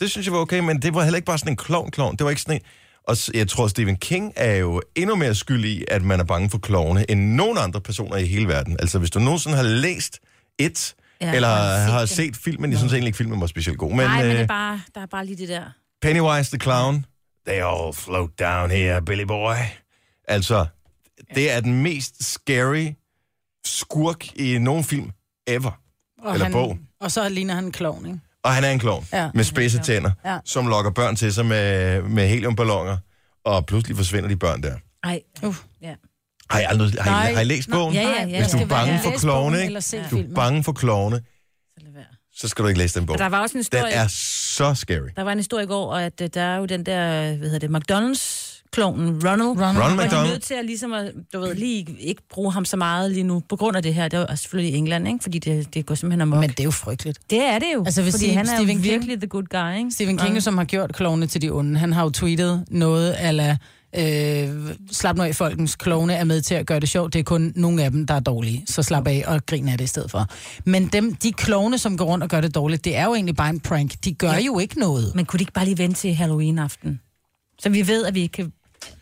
Speaker 1: Det synes jeg var okay, men det var heller ikke bare sådan en klovn-klovn. Det var ikke sådan en... Og s- jeg tror, Stephen King er jo endnu mere skyld i, at man er bange for klovne, end nogen andre personer i hele verden. Altså, hvis du nogensinde har læst et,
Speaker 3: Ja,
Speaker 1: ja, eller
Speaker 3: har
Speaker 1: har
Speaker 3: set
Speaker 1: set, har
Speaker 3: det.
Speaker 1: set filmen, jeg synes egentlig ikke, filmen var specielt god, men,
Speaker 3: Nej, men det
Speaker 1: øh,
Speaker 3: er bare, der er bare lige det der.
Speaker 1: Pennywise the Clown, they all float down here, Billy boy. Altså, det er den mest scary skurk i nogen film ever.
Speaker 2: Og
Speaker 1: Eller
Speaker 2: han,
Speaker 1: bog.
Speaker 2: Og så ligner han en klovn, ikke?
Speaker 1: Og han er en klovn
Speaker 2: Ja.
Speaker 1: med spidse tænder,
Speaker 2: Ja.
Speaker 1: som lokker børn til sig med, med heliumballoner. og pludselig forsvinder de børn der.
Speaker 3: Ej, uh. ja.
Speaker 1: Har I, aldrig, har I, har I læst
Speaker 3: Nej.
Speaker 1: bogen?
Speaker 3: Ja, ja, ja.
Speaker 1: Hvis du er
Speaker 3: Det var-
Speaker 1: bange
Speaker 3: ja.
Speaker 1: for
Speaker 3: Læs
Speaker 1: klovne,
Speaker 3: bogen
Speaker 1: ikke?
Speaker 3: eller se
Speaker 1: Du er
Speaker 3: filmen.
Speaker 1: bange for klovne, så skal du ikke læse den bog.
Speaker 3: Og der var også en historie-
Speaker 1: Den er så scary.
Speaker 3: Der var en historie i går, at øh, der er jo den der, øh, hvad hedder det, McDonald's klonen Ronald.
Speaker 1: Ronald
Speaker 3: Og de er
Speaker 1: McDonald.
Speaker 3: nødt til at, ligesom at, du ved, lige ikke bruge ham så meget lige nu, på grund af det her. Det er jo selvfølgelig i England, ikke? Fordi det, det går simpelthen amok.
Speaker 2: Men det er jo frygteligt.
Speaker 3: Det er det jo.
Speaker 2: Altså, hvis
Speaker 3: fordi
Speaker 2: Steve-
Speaker 3: han er
Speaker 2: Stephen King-
Speaker 3: jo virkelig the good guy, ikke?
Speaker 2: Stephen King,
Speaker 3: Og-
Speaker 2: ja. som har gjort klovne til de onde, han har jo tweetet noget ala... Øh, slap nu af, folkens klovne er med til at gøre det sjovt. Det er kun nogle af dem, der er dårlige. Så slap af og grin af det i stedet for. Men dem, de klovne, som går rundt og gør det dårligt, det er jo egentlig bare en prank. De gør
Speaker 3: Ja.
Speaker 2: ja. jo ikke noget.
Speaker 3: Men kunne de ikke bare lige vente til Halloween-aften? Så vi ved, at vi ikke kan...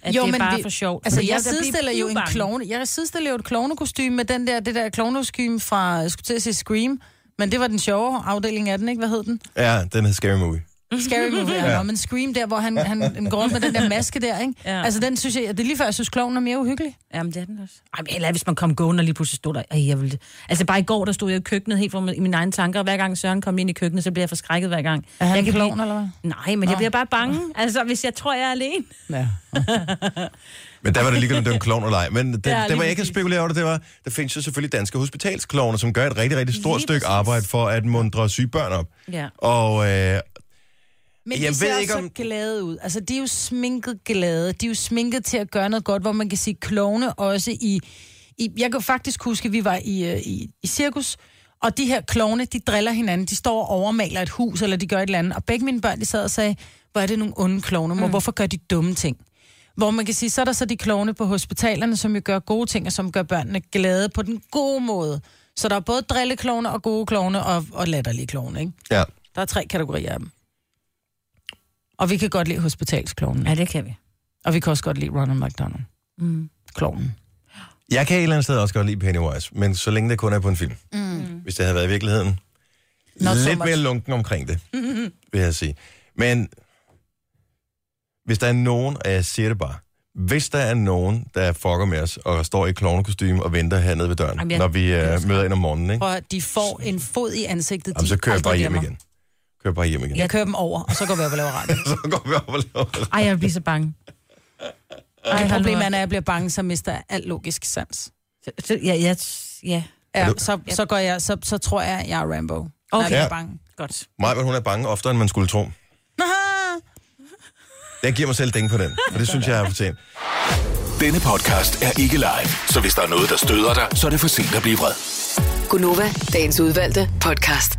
Speaker 3: At jo, det er bare vi, for sjovt.
Speaker 2: Altså,
Speaker 3: Men
Speaker 2: jeg,
Speaker 3: vil da blive
Speaker 2: sidestiller jo en
Speaker 3: pivbange.
Speaker 2: klovne. Jeg sidestiller jo et klovnekostyme med den der, det der klovnekostyme fra, jeg skulle til at sige Scream, men det var den sjove afdeling af den, ikke? Hvad hed den?
Speaker 1: Ja, den hedder Scary Movie.
Speaker 3: <laughs>
Speaker 2: Scary Movie,
Speaker 1: Ja.
Speaker 2: ja. Nå, men Scream der, hvor han, han, han går rundt med den der maske der, ikke? Ja. Altså, den synes jeg, det er lige før, jeg synes, kloven er mere uhyggelig.
Speaker 3: Jamen, det er den også. Ej, men eller hvis man kom gående og lige pludselig stod der. Ej, jeg ville... Altså, bare i går, der stod jeg i køkkenet helt for i mine egne tanker, og hver gang Søren kom ind i køkkenet, så blev jeg forskrækket hver gang.
Speaker 2: Er han
Speaker 3: jeg
Speaker 2: klovn, eller hvad?
Speaker 3: Nej, men Nå. jeg bliver bare bange. Altså, hvis jeg tror, jeg er alene.
Speaker 2: Ja.
Speaker 1: Men der var det ligegyldigt,
Speaker 2: <laughs>
Speaker 1: om det var en klovn eller ej. Men det,
Speaker 3: Ja,
Speaker 1: ja,
Speaker 3: lige
Speaker 1: det var jeg ikke
Speaker 3: præcis.
Speaker 1: spekulere over det, det var, der findes jo selvfølgelig danske hospitalsklovner, som gør et rigtig, rigtig stort stykke arbejde for at mundre syge børn op.
Speaker 2: Ja.
Speaker 1: Og øh,
Speaker 2: Men
Speaker 1: Jeg
Speaker 2: de ser
Speaker 1: ved
Speaker 2: også
Speaker 1: ikke, om-
Speaker 2: så glade ud. Altså, de er jo sminket glade. De er jo sminket til at gøre noget godt, hvor man kan sige klovne også i... i jeg kan faktisk huske, at vi var i, øh, i, i cirkus, og de her klovne, de driller hinanden. De står og overmaler et hus, eller de gør et eller andet. Og begge mine børn, de sad og sagde, hvor er det nogle onde klovne, mor?
Speaker 11: Mm.
Speaker 2: Hvorfor gør de dumme ting? Hvor man kan sige, så er der så de klovne på hospitalerne, som jo gør gode ting, og som gør børnene glade på den gode måde. Så der er både drilleklovne og gode klovne og, og latterlige klovne, ikke?
Speaker 1: ja,
Speaker 2: Der er tre kategorier af dem. Og vi kan godt lide hospitalsklovnen.
Speaker 3: Ja, det kan vi.
Speaker 2: Og vi kan også godt lide Ronald McDonald.
Speaker 3: Mm.
Speaker 2: Klovnen.
Speaker 1: jeg kan et eller andet sted også godt lide Pennywise, men så længe det kun er på en film.
Speaker 2: Mm.
Speaker 1: Hvis det havde været i virkeligheden.
Speaker 2: Not
Speaker 1: lidt
Speaker 2: so much. Mm-hmm.
Speaker 1: mere lunken omkring det, vil jeg sige. Men hvis der er nogen, og jeg siger det bare, hvis der er nogen, der fucker med os, og står i klovnekostume og venter hernede ved døren, Jamen,
Speaker 2: Jamen, jeg-
Speaker 1: når vi
Speaker 2: jeg
Speaker 1: øh,
Speaker 2: elsker
Speaker 1: møder ind om morgenen, ikke?
Speaker 2: Prøv at, de får en fod i ansigtet.
Speaker 1: Jamen,
Speaker 2: de
Speaker 1: så kører jeg
Speaker 2: aldrig
Speaker 1: bare hjem
Speaker 2: glemmer.
Speaker 1: igen. Kører bare hjem igen.
Speaker 2: Jeg kører dem over, og så går vi op og laver radio.
Speaker 1: <laughs> så går vi op og laver
Speaker 3: Ej, jeg bliver så bange.
Speaker 2: Ej,
Speaker 3: hallo.
Speaker 2: problemet er, når jeg bliver bange, så mister jeg alt logisk sans.
Speaker 3: Så, ja, ja, ja.
Speaker 2: Ja, så, så, går jeg, så, så tror jeg, jeg er Rambo. Når
Speaker 1: Okay.
Speaker 2: jeg bliver
Speaker 1: Ja.
Speaker 2: bange. Godt.
Speaker 1: Maja, hun er bange oftere, end man skulle tro. Jeg giver mig selv dænge på den, og det synes jeg, jeg har fortjent.
Speaker 4: Denne podcast er ikke live, så hvis der er noget, der støder dig, så er det for sent at blive vred.
Speaker 5: Gunova, dagens udvalgte podcast.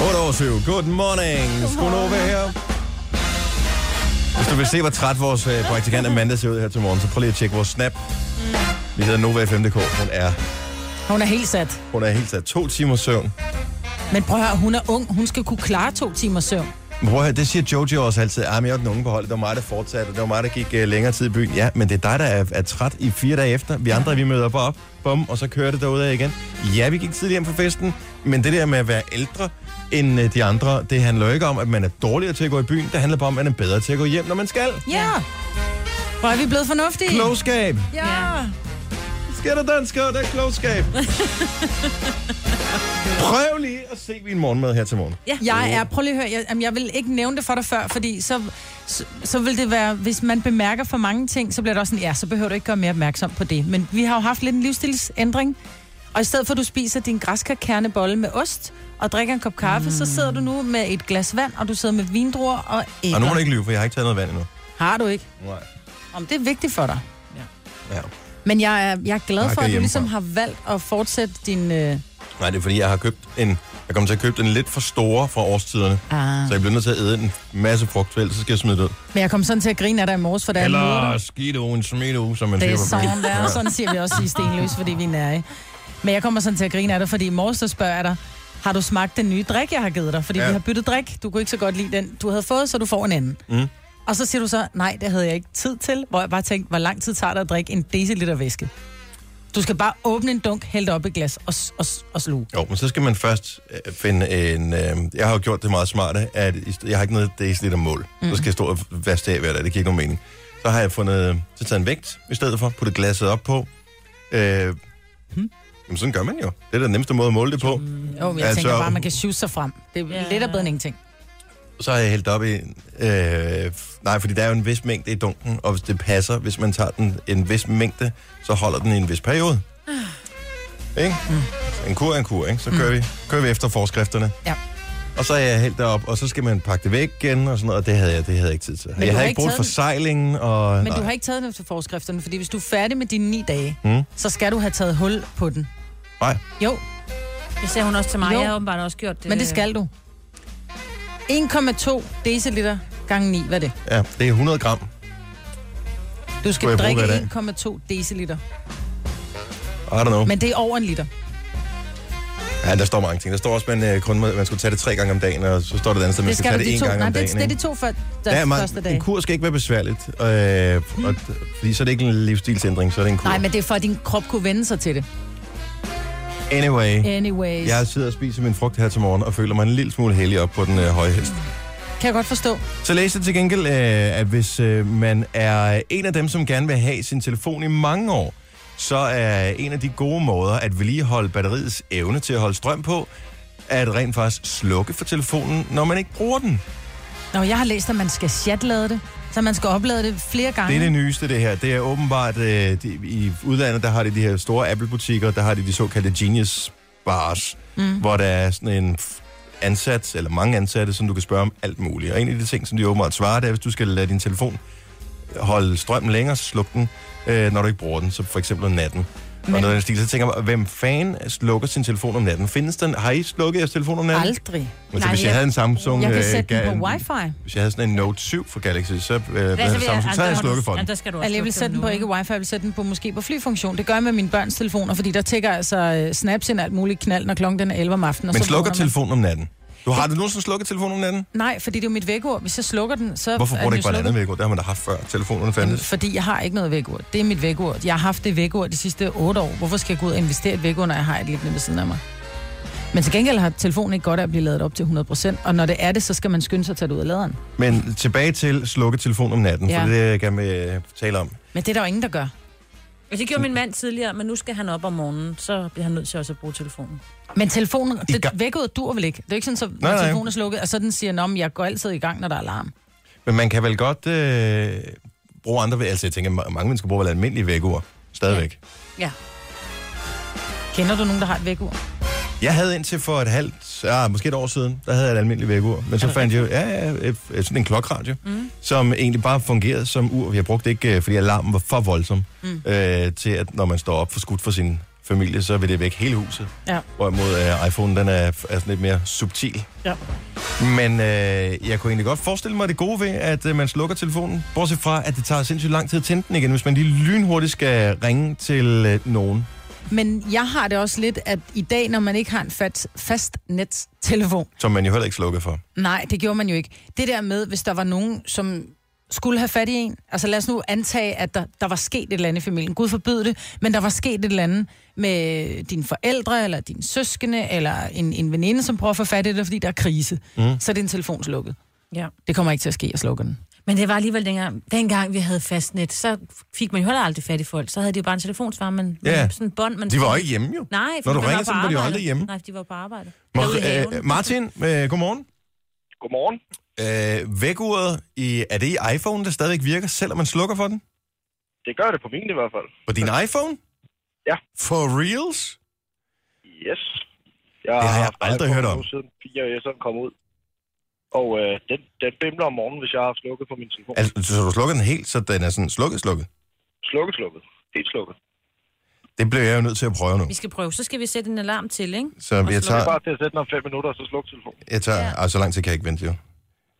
Speaker 1: 8 over 7. Good morning. Skunova her. Hvis du vil se, hvor træt vores øh, praktikant Amanda ser ud her til morgen, så prøv lige at tjekke vores snap. Vi hedder Nova FM.dk. Hun er,
Speaker 2: Hun er helt sat.
Speaker 1: hun er helt sat to timer søvn.
Speaker 2: Men prøv at høre, hun er ung. Hun skal kunne klare to timer søvn.
Speaker 1: Men prøv at høre, det siger Jojo også altid. Ah, men jeg var den unge på holdet. Det var mig, der fortsatte. og Det var mig, der gik øh, længere tid i byen. Ja, men det er dig, der er, er træt i fire dage efter. Vi andre, vi møder bare op. Bum, og så kører det derudad igen. Ja, vi gik tidligere hjem fra festen. Men det der med at være ældre end øh, de andre, det handler jo ikke om, at man er dårligere til at gå i byen. Det handler bare om, at man er bedre til at gå hjem, når man skal.
Speaker 2: Ja. Hvor er vi blevet fornuftige?
Speaker 1: Klogskab.
Speaker 2: Ja.
Speaker 1: Skal der dansker, der er klogskab. Prøv lige at se min morgenmad her til morgen.
Speaker 2: Ja. Jeg er, prøv lige at høre, jeg, jamen, jeg vil ikke nævne det for dig før, fordi så, så, så vil det være, hvis man bemærker for mange ting, så bliver det også sådan, ja, så behøver du ikke gøre mere opmærksom på det. Men vi har jo haft lidt en livsstilsændring, og i stedet for at du spiser din græskarkernebolle med ost og drikker en kop kaffe, mm. så sidder du nu med et glas vand, og du sidder med vindruer og æbler.
Speaker 1: Og nu må du ikke lyve, for jeg har ikke taget noget vand endnu.
Speaker 2: Har du ikke?
Speaker 1: Nej.
Speaker 2: Om det er vigtigt for dig.
Speaker 1: Ja.
Speaker 2: Men jeg er, jeg er glad
Speaker 1: Snakker
Speaker 2: for, at du
Speaker 1: hjemmefra.
Speaker 2: ligesom har valgt at fortsætte din... Øh,
Speaker 1: Nej, det er fordi, jeg har købt en... Jeg kommer til at købe den lidt for store fra årstiderne.
Speaker 2: Ah.
Speaker 1: Så jeg bliver nødt til at æde en masse frugt, for ellers så skal jeg smide det ud.
Speaker 2: men jeg kom sådan til at grine af dig i morges, for da jeg møder dig.
Speaker 1: Eller skidt ugen, smidt ugen, som man
Speaker 2: Det
Speaker 1: siger
Speaker 2: er
Speaker 1: på byen.
Speaker 2: sådan der, og sådan siger vi også i Stenløs, fordi vi er nære. Men jeg kommer sådan til at grine af dig, fordi i morges der spørger jeg dig, har du smagt den nye drik, jeg har givet dig? Fordi
Speaker 1: Ja.
Speaker 2: ja. vi har byttet drik. Du kunne ikke så godt lide den, du havde fået, så du får en anden.
Speaker 1: Mm.
Speaker 2: Og så siger du så, nej, det havde jeg ikke tid til, hvor jeg bare tænkte, hvor lang tid tager det at drikke en deciliter væske? Du skal bare åbne en dunk, hælde det op i et glas og, s- og, s- og sluge.
Speaker 1: Jo, men så skal man først øh, finde en... Øh, jeg har jo gjort det meget smarte, at i st- jeg har ikke noget deciliter mål. Mm. Så skal jeg stå og vaste af hver dag, det giver ikke nogen mening. Så har jeg fundet... Så taget en vægt i stedet for, puttet glasset op på. Øh, hmm. Jamen, sådan gør man jo.
Speaker 2: Mm.
Speaker 1: Det er da den nemmeste måde at måle det på.
Speaker 2: Jo, men jeg
Speaker 1: Altså-
Speaker 2: tænker bare, man kan shoot sig frem. Det er lidt bedre end ingenting.
Speaker 1: så har jeg hældt op i... en- Øh, f- nej, fordi der er jo en vis mængde i dunken, og hvis det passer, hvis man tager den en vis mængde, så holder den i en vis periode.
Speaker 2: Ah.
Speaker 1: Ikke?
Speaker 2: Mm.
Speaker 1: En kur er en kur, ikke? Så kører, vi, kører vi efter forskrifterne.
Speaker 2: Ja.
Speaker 1: Og så er jeg hældt derop, og så skal man pakke det væk igen og sådan noget, og det havde jeg, det havde jeg ikke tid til.
Speaker 2: du
Speaker 1: jeg
Speaker 2: har
Speaker 1: havde
Speaker 2: ikke
Speaker 1: ikke brugt
Speaker 2: taget den.
Speaker 1: forseglingen, og...
Speaker 2: Men
Speaker 1: nej.
Speaker 2: du har ikke taget den efter forskrifterne, fordi hvis du er færdig med dine ni dage,
Speaker 1: Mm.
Speaker 2: så skal du have taget hul på den.
Speaker 1: Nej.
Speaker 2: Jo.
Speaker 3: Det sagde hun også til mig.
Speaker 2: Jo.
Speaker 3: Jeg har åbenbart også gjort det.
Speaker 2: Men det skal du. 1,2 deciliter gange 9, hvad er det?
Speaker 1: Ja, det er 100 gram.
Speaker 2: Du
Speaker 1: Skulle
Speaker 2: skal
Speaker 1: jeg bruge
Speaker 2: drikke
Speaker 1: hver dag?
Speaker 2: 1,2 deciliter.
Speaker 1: I don't know.
Speaker 2: Men det er over en liter.
Speaker 1: Ja, der står mange ting. Der står også, at man, øh, kun må, man skulle tage det tre gange om dagen, og så står der et andet sted, at man
Speaker 2: det
Speaker 1: skal, tage det
Speaker 2: de
Speaker 1: en
Speaker 2: to.
Speaker 1: gang
Speaker 2: Nej,
Speaker 1: om
Speaker 2: det,
Speaker 1: dagen.
Speaker 2: det er
Speaker 1: ikke?
Speaker 2: de to før,
Speaker 1: Der
Speaker 2: der,
Speaker 1: er mange-
Speaker 2: første
Speaker 1: En
Speaker 2: dag.
Speaker 1: kur skal ikke være besværligt, øh, og, fordi så er det ikke en livsstilsændring, så er det en kur.
Speaker 2: Nej, men det er for, at din krop kunne vende sig til det.
Speaker 1: Anyway,
Speaker 2: Anyways.
Speaker 1: jeg sidder og spiser min frugt her til morgen, og føler mig en lille smule heldig op på den øh, høje hest.
Speaker 2: Kan jeg godt forstå.
Speaker 1: Så læste jeg til gengæld, øh, at hvis øh, man er en af dem, som gerne vil have sin telefon i mange år, så er en af de gode måder at vedligeholde batteriets evne til at holde strøm på, at rent faktisk slukke for telefonen, når man ikke bruger den.
Speaker 2: Nå, jeg har læst, at man skal chatlade det, så man skal oplade det flere gange.
Speaker 1: Det er det nyeste, det her. Det er åbenbart, øh, de, i udlandet, der har de de her store Apple-butikker, der har de de såkaldte Genius Bars, mm. hvor der er sådan en f- ansat, eller mange ansatte, som du kan spørge om alt muligt. Og en af de ting, som de åbenbart svarer, det er, hvis du skal lade din telefon holde strømmen længere, så sluk den, øh, når du ikke bruger den, så for eksempel om natten. Men... Og noget af den stil, så tænker jeg, hvem fanden slukker sin telefon om natten? Findes den? Har I slukket jeres telefon om natten?
Speaker 2: Aldrig.
Speaker 1: Altså, hvis jeg havde en Samsung...
Speaker 2: Jeg kan
Speaker 1: øh,
Speaker 2: sætte den
Speaker 1: ga-
Speaker 2: på wifi.
Speaker 1: Hvis jeg havde sådan en Note 7 fra Galaxy, så, øh, hvad
Speaker 2: så
Speaker 1: hedder
Speaker 2: vil jeg-
Speaker 1: Samsung, så havde jeg slukket for den.
Speaker 3: der altså, skal du også
Speaker 2: Eller jeg vil
Speaker 3: lukke
Speaker 2: sætte
Speaker 3: den
Speaker 2: den på
Speaker 3: nu,
Speaker 2: ikke wifi, jeg vil sætte den på måske på flyfunktion. Det gør jeg med mine børns telefoner, fordi der tækker altså øh, snaps ind alt muligt knald, når klokken den er 11 om aftenen. og
Speaker 1: Men
Speaker 2: så
Speaker 1: slukker
Speaker 2: vågner man.
Speaker 1: telefonen om natten? Du har du nogensinde slukket telefonen om natten?
Speaker 2: Nej, fordi det er jo mit vækord. Hvis jeg slukker den, så
Speaker 1: Hvorfor
Speaker 2: er
Speaker 1: bruger du
Speaker 2: den
Speaker 1: ikke
Speaker 2: jo
Speaker 1: bare et andet
Speaker 2: slukket.
Speaker 1: vækord? Det har man da haft før telefonerne fandtes.
Speaker 2: Fordi jeg har ikke noget vækord. Det er mit vækord. Jeg har haft det vækord de sidste 8 år. Hvorfor skal jeg gå ud og investere i et vækord, når jeg har et liggende ved siden af mig? Men til gengæld har telefonen ikke godt af at blive ladet op til 100%, og når det er det, så skal man skynde sig at tage det ud af laderen.
Speaker 1: Men tilbage til slukke telefonen om natten, ja.
Speaker 2: Ja.
Speaker 1: for det er det, jeg gerne vil øh, tale om.
Speaker 2: Men det er der jo ingen, der gør.
Speaker 3: Men det Altså, gjorde min mand tidligere, men nu skal han op om morgenen, så bliver han nødt til også at bruge telefonen.
Speaker 2: Men telefonen, det,
Speaker 1: gang-
Speaker 2: vækkeordet dur vel ikke? Det er ikke sådan, så
Speaker 1: Nej,
Speaker 2: når
Speaker 1: nej.
Speaker 2: telefonen er slukket, og så den siger, at jeg går altid i gang, når der er alarm.
Speaker 1: Men man kan vel godt øh, bruge andre... væ- Altså, jeg tænker, ma- mange mennesker bruger vel almindelige vækord stadigvæk.
Speaker 2: Ja. Kender du nogen, der har et vækord?
Speaker 1: Jeg havde indtil for et halvt, ah, måske et år siden, der havde jeg et almindeligt vækord. Men så fandt jeg jo, ja, ja, øh, øh, sådan en klokradio, mm. som egentlig bare fungerede som ur. Jeg brugte det ikke, øh, fordi alarmen var for voldsom, mm. øh, til at når man står op for skudt for sin familie, så vil det væk hele huset.
Speaker 2: Ja.
Speaker 1: Hvorimod øh, iPhone, den er, er sådan lidt mere subtil.
Speaker 2: Ja.
Speaker 1: Men øh, jeg kunne egentlig godt forestille mig det gode ved, at øh, man slukker telefonen. Bortset fra, at det tager sindssygt lang tid at tænde den igen, hvis man lige lynhurtigt skal ringe til øh, nogen.
Speaker 2: Men jeg har det også lidt, at i dag, når man ikke har en fast, fast nettelefon,
Speaker 1: Som man jo heller ikke slukker for.
Speaker 2: Nej, det gjorde man jo ikke. Det der med, hvis der var nogen, som skulle have fat i en. Altså lad os nu antage, at der, der var sket et eller andet i familien. Gud forbyde det, men der var sket et eller andet med dine forældre, eller dine søskende, eller en, en veninde, som prøver at få fat i det, fordi der er krise. Mm. Så er din telefon slukket.
Speaker 3: Ja.
Speaker 2: Det kommer ikke til at ske, at slukke den.
Speaker 3: Men det var alligevel dengang, dengang vi havde fastnet, så fik man jo heller aldrig fat i folk. Så havde de jo bare en telefonsvar, men
Speaker 1: Ja.
Speaker 3: men sådan en bånd. Man
Speaker 1: De var jo ikke hjemme, jo.
Speaker 3: Nej,
Speaker 1: Når
Speaker 3: fordi
Speaker 1: du
Speaker 3: man
Speaker 1: ringer
Speaker 3: var
Speaker 1: til
Speaker 3: på
Speaker 1: dem, var de jo
Speaker 3: arbejde.
Speaker 1: aldrig hjemme.
Speaker 3: Nej, for de var på arbejde. Derude i
Speaker 1: Mar-
Speaker 3: haven.
Speaker 1: øh, Martin, øh, godmorgen.
Speaker 10: Godmorgen.
Speaker 1: Øh, vækordet, i, er det i iPhone, der stadigvæk virker, selvom man slukker for den?
Speaker 10: Det gør det på min i hvert fald.
Speaker 1: På din iPhone?
Speaker 10: Ja.
Speaker 1: For reals?
Speaker 10: Yes. Jeg
Speaker 1: Det har jeg
Speaker 10: haft
Speaker 1: aldrig
Speaker 10: iPhone
Speaker 1: hørt om.
Speaker 10: nu Siden 4 år, kom ud. Og øh, den, den bimler om morgenen, hvis jeg har slukket på min telefon. Altså...
Speaker 1: Altså, så du slukker den helt, så den er sådan slukket, slukket?
Speaker 10: Slukket, slukket. Helt slukket.
Speaker 1: Det blev jeg jo nødt til at prøve nu.
Speaker 3: Vi skal prøve. Så skal vi sætte en alarm til, ikke?
Speaker 1: Så
Speaker 3: Og
Speaker 1: jeg
Speaker 3: slå det
Speaker 10: Det er
Speaker 1: tager,
Speaker 10: bare til at sætte den om 5 minutter, og så slukke telefonen.
Speaker 1: jeg tager, ja. altså, så lang tid kan jeg ikke vente, jo.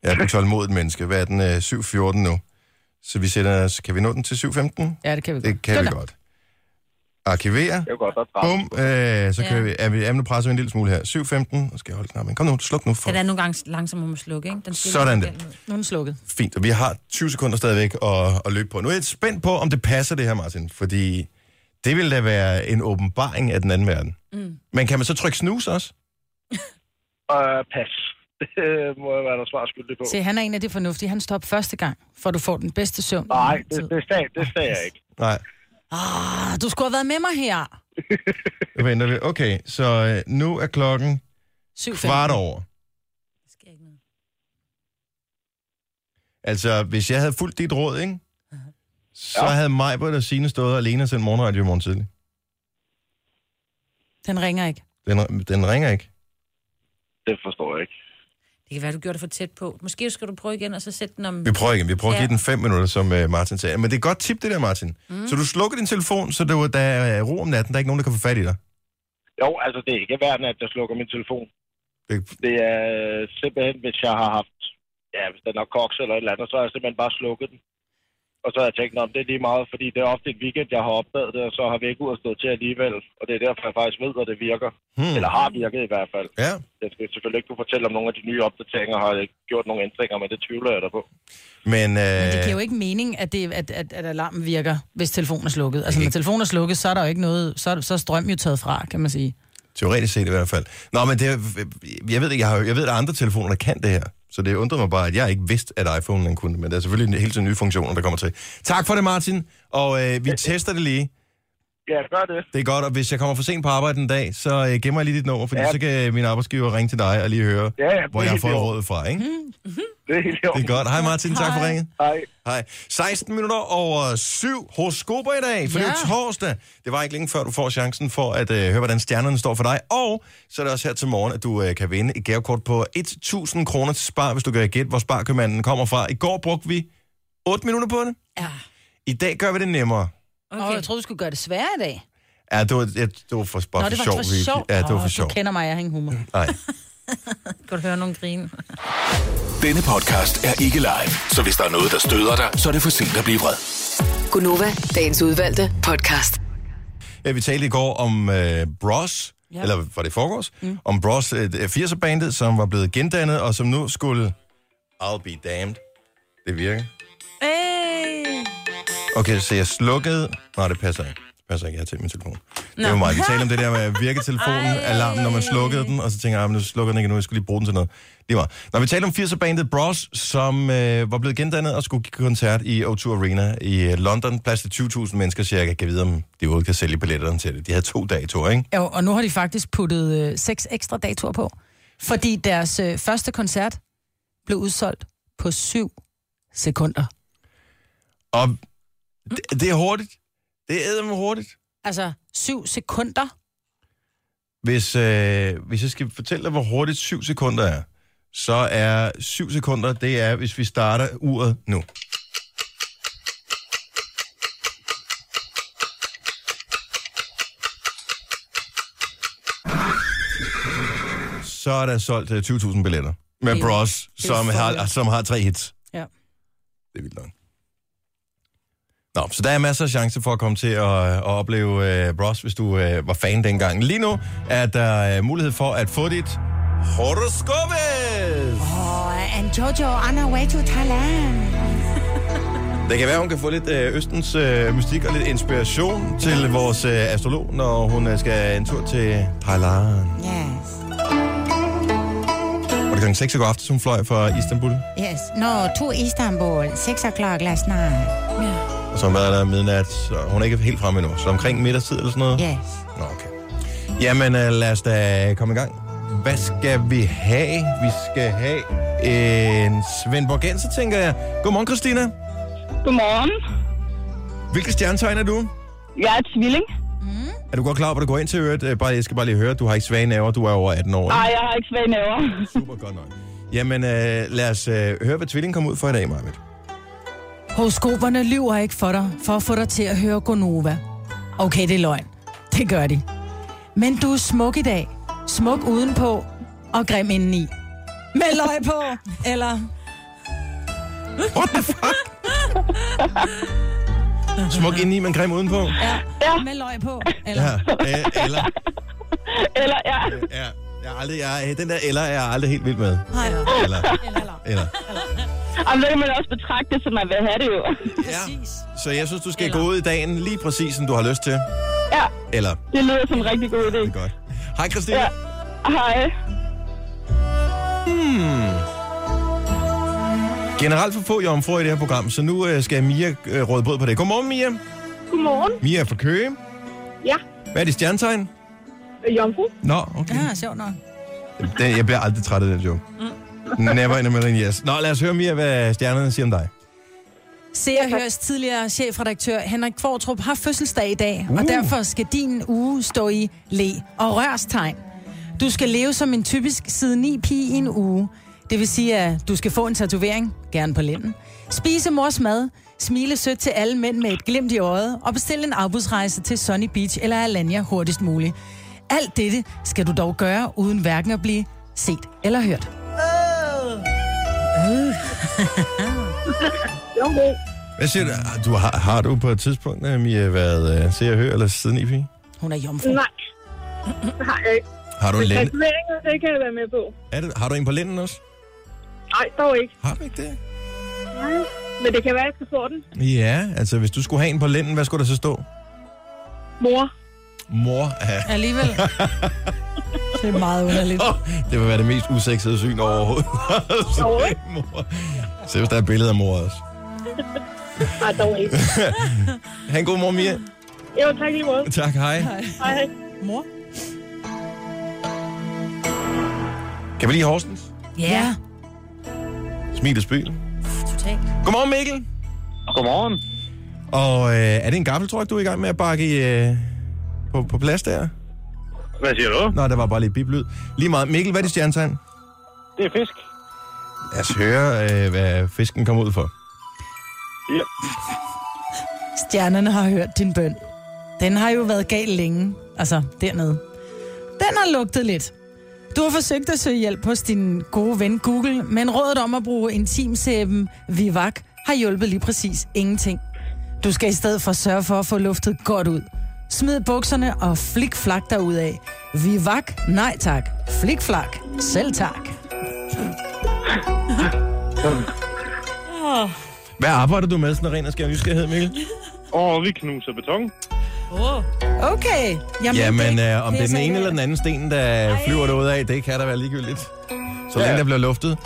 Speaker 1: Jeg er et tålmodigt menneske. Hvad er den? Øh, 7.14 nu. Så vi sætter os, kan vi nå den til 7.15?
Speaker 2: Ja, det kan vi godt.
Speaker 1: Det kan vi
Speaker 2: da.
Speaker 1: godt. Arkivere.
Speaker 10: Jeg kan godt være træt.
Speaker 1: Bum, øh, så
Speaker 3: Ja.
Speaker 1: kører vi. Er vi, er vi nu presser vi en lille smule her. 7.15. Så skal jeg holde knappen. Kom nu, sluk nu. For
Speaker 3: Den er nogle gange langsommere med slukke, ikke? Den skal
Speaker 1: Sådan der.
Speaker 3: lige ned.
Speaker 2: Nu er den slukket.
Speaker 1: Fint, og vi har 20 sekunder stadigvæk at, at løbe på. Nu er jeg spændt på, om det passer det her, Martin, fordi det ville da være en åbenbaring af den anden verden. Mm. Men kan man så trykke snus også?
Speaker 10: Øh, pas. Det må jeg være noget svar skyldig på.
Speaker 2: Se, han er en af de fornuftige. Han stopper første gang, for du får den bedste søvn.
Speaker 10: Nej, det, det, sag, det sag jeg ikke.
Speaker 1: Nej,
Speaker 2: Ah, du skulle have været med mig her.
Speaker 1: det venter vi. Okay, så øh, nu er klokken
Speaker 2: 7
Speaker 1: kvart over.
Speaker 3: Det sker ikke noget.
Speaker 1: Altså, hvis jeg havde fulgt dit råd, ikke? Så ja. havde Majbert og Signe stået alene og sendt morgenradio i morgen tidlig.
Speaker 2: Den ringer ikke.
Speaker 1: Den, den ringer ikke.
Speaker 7: Det forstår jeg ikke.
Speaker 3: Det kan være, du gjorde det for tæt på. Måske skal du prøve igen, og så sætte den om...
Speaker 1: Vi prøver igen. Vi prøver at
Speaker 3: ja.
Speaker 1: give den 5 minutter, som øh, Martin sagde. Men det er et godt tip, det der, Martin. Mm. Så du slukker din telefon, så der, der er øh, ro om natten. Der er ikke nogen, der kan få fat i dig.
Speaker 7: Jo, altså det er ikke verden, at jeg slukker min telefon.
Speaker 1: Det-
Speaker 7: Det er simpelthen, hvis jeg har haft, ja, hvis den har koks eller et eller andet, så har jeg simpelthen bare slukket den. Og så har jeg tænkt, om det er lige meget, fordi det er ofte en weekend, jeg har opdaget det, og så har vi ikke ud at stå til alligevel. Og det er derfor, jeg faktisk ved, at det virker.
Speaker 1: Hmm.
Speaker 7: Eller har virket i hvert fald.
Speaker 1: Ja.
Speaker 7: Jeg skal selvfølgelig ikke kunne fortælle om nogle af de nye opdateringer, har jeg gjort nogle ændringer, men det tvivler jeg da på.
Speaker 1: Men, øh,
Speaker 2: Men det giver jo ikke mening, at, det, at, at, at alarmen virker, hvis telefonen er slukket. Altså, når telefonen er slukket, så er der jo ikke noget... Så er, så er strøm jo taget fra, kan man sige.
Speaker 1: Teoretisk set i hvert fald. Nå, men det, er- jeg ved, ikke, jeg, har, jo- jeg ved, at der er andre telefoner, der kan det her. Så det undrer mig bare, at jeg ikke vidste, at iPhone den kunne. Men der er selvfølgelig en hele tiden nye funktioner, der kommer til. Tak for det, Martin. Og øh, vi tester det lige.
Speaker 7: Ja, gør det.
Speaker 1: Det er godt, og hvis jeg kommer for sent på arbejde en dag, så øh, gemmer jeg lige dit nummer, fordi ja.
Speaker 7: Ja.
Speaker 1: så kan min arbejdsgiver ringe til dig og lige høre,
Speaker 7: Ja, ja, det er
Speaker 1: hvor jeg har
Speaker 7: helt i
Speaker 1: fået
Speaker 7: orden.
Speaker 1: rådet fra. Ikke?
Speaker 7: Det er helt i
Speaker 1: Det er
Speaker 7: orden.
Speaker 1: godt. Hej Martin, tak for ringen.
Speaker 7: Hej.
Speaker 1: Hej. 16 minutter over 7 hos Skober i dag, for ja. det er jo torsdag. Det var ikke længe før, du får chancen for at øh, høre, hvordan stjernerne står for dig. Og så er det også her til morgen, at du øh, kan vinde et gavekort på 1.000 kroner til Spar, hvis du gør gæt, hvor sparkøbmanden kommer fra. I går brugte vi 8 minutter på det.
Speaker 2: Ja.
Speaker 1: I dag gør vi det nemmere.
Speaker 2: Okay. Og jeg troede, du skulle gøre det sværere i dag.
Speaker 1: Ja, det var, jeg, det var for, bare
Speaker 2: Nå,
Speaker 1: for
Speaker 2: det var
Speaker 1: sjov.
Speaker 2: for
Speaker 1: Vicky.
Speaker 2: sjov.
Speaker 1: Ja, det var
Speaker 2: Åh,
Speaker 1: for sjov.
Speaker 2: Du kender mig, jeg har ingen humor.
Speaker 1: Nej.
Speaker 3: Kan du høre nogen grine?
Speaker 4: Denne podcast er ikke live, så hvis der er noget, der støder dig, så er det for sent at blive vred.
Speaker 5: Gunova, dagens udvalgte podcast.
Speaker 1: Ja, vi talte i går om øh, Bros, ja. eller var det i forgårs? Mm. Om Bros, øh, 80'er-bandet, som var blevet gendannet, og som nu skulle... I'll be damned. Det virker.
Speaker 3: Hey!
Speaker 1: Okay, så jeg slukkede... Nej, det passer ikke. Det passer ikke, jeg har tændt min telefon. Nå. Det var mig. Vi talte om det der med <laughs> virketelefonen, alarmen, når man slukkede den, og så tænker jeg, "Ah, men nu slukker den ikke nu, jeg skulle lige bruge den til noget. Det var. Når vi talte om 80'er-bandet Bros, som øh, var blevet gendannet og skulle give koncert i O2 Arena i øh, London. Plads til 20.000 mennesker cirka. Kan vide, om de overhovedet kan sælge billetterne til det. De havde to dage, tror jeg, ikke?
Speaker 2: Jo, og nu har de faktisk puttet øh, seks ekstra datoer på. Fordi deres øh, første koncert blev udsolgt på syv sekunder.
Speaker 1: Og det, det er hurtigt. Det er med hurtigt.
Speaker 2: Altså, syv sekunder?
Speaker 1: Hvis, øh, hvis jeg skal fortælle dig, hvor hurtigt 7 sekunder er, så er 7 sekunder, det er, hvis vi starter uret nu. Så er der solgt øh, 20.000 billetter med
Speaker 2: Det er jo-
Speaker 1: Bros,
Speaker 2: det er jo
Speaker 1: som har,
Speaker 2: folk.
Speaker 1: som har tre hits.
Speaker 2: Ja.
Speaker 1: Det er vildt nok. Nå, så der er masser af chance for at komme til at, at opleve øh, Bros, hvis du øh, var fan dengang. Lige nu er der øh, mulighed for at få dit horoskopet.
Speaker 2: Oh, and Jojo on her way to Thailand.
Speaker 1: Det kan være, hun kan få lidt øh, Østens øh, mystik og lidt inspiration til vores øh, astrolog, når hun øh, skal en tur til Thailand.
Speaker 2: Yes,
Speaker 1: Og det er kl. 6 i går aftes, hun fløj fra Istanbul.
Speaker 2: yes. No, to Istanbul, 6 o'clock last night.
Speaker 1: Og så har hun været der midnat, så hun er ikke helt fremme endnu. Så omkring middagstid eller sådan noget?
Speaker 2: Yes.
Speaker 1: Nå, okay. Jamen, øh, lad os da komme i gang. Hvad skal vi have? Vi skal have øh, en Svendborgenser, tænker jeg. Godmorgen, Christina.
Speaker 11: Godmorgen.
Speaker 1: Hvilke stjernetegn er du? Mm.
Speaker 11: Jeg er tvilling.
Speaker 1: Er du godt klar over, hvad du går ind til øret? Øh, Bare, jeg skal bare lige høre, du har ikke svage naver, du er over 18 år. ikke?
Speaker 11: Nej, jeg har ikke svage næver.
Speaker 1: Super godt nok. Jamen, øh, lad os øh, høre, hvad tvillingen kom ud for i dag, Marvitt.
Speaker 2: Horoskoperne lyver ikke for dig, for at få dig til at høre Gonova. Okay, det er løgn. Det gør de. Men du er smuk i dag. Smuk udenpå og grim indeni. Med løg på, eller...
Speaker 1: What the fuck? Smuk indeni, men grim udenpå.
Speaker 2: Ja, med løg på, eller...
Speaker 1: Ja, øh, eller.
Speaker 11: <laughs> Eller, ja.
Speaker 1: Ja, jeg er aldrig, jeg, er- den der eller er jeg aldrig helt vild med.
Speaker 2: Nej,
Speaker 1: Eller, eller.
Speaker 11: Jamen, det kan man også betragte det, som man vil have det jo.
Speaker 1: Ja, så jeg synes, du skal gå ud i dagen lige præcis, som du har lyst til.
Speaker 11: Ja,
Speaker 1: Eller,
Speaker 11: det lyder som en rigtig god idé.
Speaker 1: det er godt. Hej, Christina.
Speaker 11: Ja. Hej.
Speaker 1: Generelt for få jomfruer i det her program, så nu øh, skal Mia øh, råde båd på det. Godmorgen, Mia.
Speaker 11: Godmorgen.
Speaker 1: Mia er fra Køge.
Speaker 11: Ja.
Speaker 1: Hvad er dit stjernetegn?
Speaker 11: Jomfru.
Speaker 1: Nå, okay.
Speaker 2: ja sjovt nok.
Speaker 1: Den, jeg bliver aldrig træt af den joke. Never in a million years. Nå, lad os høre mere, hvad stjernerne siger om dig.
Speaker 2: Se og Hørs tidligere chefredaktør Henrik Kvartrup har fødselsdag i dag, uh.
Speaker 1: Uh.
Speaker 2: og derfor skal din uge stå i le og rørstegn. Du skal leve som en typisk side 9 pige i en uge. Det vil sige, at du skal få en tatovering, gerne på lænden, spise mors mad, smile sødt til alle mænd med et glimt i øjet, og bestille en afbudsrejse til Sunny Beach eller Alanya hurtigst muligt. Alt dette skal du dog gøre, uden hverken at blive set eller hørt.
Speaker 11: Okay.
Speaker 1: Hvad siger du? Ah, du har, har du på et tidspunkt, øh, Mia, været uh, se og høre, eller siden i pige?
Speaker 2: Hun er jomfru.
Speaker 11: Nej. Det har jeg ikke.
Speaker 1: Har du
Speaker 11: Men
Speaker 1: en lænd?
Speaker 11: Tatoveringer, Altså, det kan jeg være med på.
Speaker 1: Er det, har du en på lænden også?
Speaker 11: Nej, dog ikke.
Speaker 1: Har du ikke det?
Speaker 11: Nej. Men det kan være, at jeg skal få den.
Speaker 1: Ja, altså hvis du skulle have en på lænden, hvad skulle der så stå?
Speaker 11: Mor.
Speaker 1: Mor af...
Speaker 2: Alligevel. Det er meget underligt.
Speaker 1: <laughs> Det vil være det mest usexede syn overhovedet.
Speaker 11: <laughs> Overhovedet.
Speaker 1: <laughs> Mor. Se, hvis der er et billede af mor
Speaker 11: <laughs>
Speaker 1: også.
Speaker 11: Nej, dog ikke.
Speaker 1: <laughs> Ha' en god mor, Mia.
Speaker 11: Jo, tak lige måde.
Speaker 1: Tak, hej.
Speaker 11: Hej, hej.
Speaker 2: Mor?
Speaker 1: Kan vi lige Horsens?
Speaker 2: Ja.
Speaker 1: Smiles by.
Speaker 3: Totalt.
Speaker 1: Godmorgen, Mikkel.
Speaker 12: Godmorgen.
Speaker 1: Og øh, er det en gaffeltruck, du er i gang med at bakke øh, på, på plads der?
Speaker 12: Hvad siger du?
Speaker 1: Nå, der var bare lidt biblyd. Lige meget. Mikkel, hvad er dit stjernetegn?
Speaker 12: Det er fisk.
Speaker 1: Lad os høre, øh, hvad fisken kom ud for.
Speaker 12: Ja.
Speaker 2: Stjernerne har hørt din bøn. Den har jo været gal længe. Altså, dernede. Den har lugtet lidt. Du har forsøgt at søge hjælp hos din gode ven Google, men rådet om at bruge intimsæben Vivac har hjulpet lige præcis ingenting. Du skal i stedet for sørge for at få luftet godt ud. Smid bukserne og flik flak derudad. Vivac, nej tak. Flik flak, selv tak.
Speaker 3: Åh.
Speaker 1: Hvad arbejder du med, sådan ren og skær nysgerrighed, Mikkel?
Speaker 12: Og vi knuser beton.
Speaker 3: Oh.
Speaker 2: Okay.
Speaker 1: Jamen, Jamen øh, om det er den
Speaker 2: så
Speaker 1: ene
Speaker 2: ikke-
Speaker 1: eller den anden sten, der Ej. flyver derudad, af, det kan der være ligegyldigt. Så længe
Speaker 12: Ja.
Speaker 1: der bliver luftet.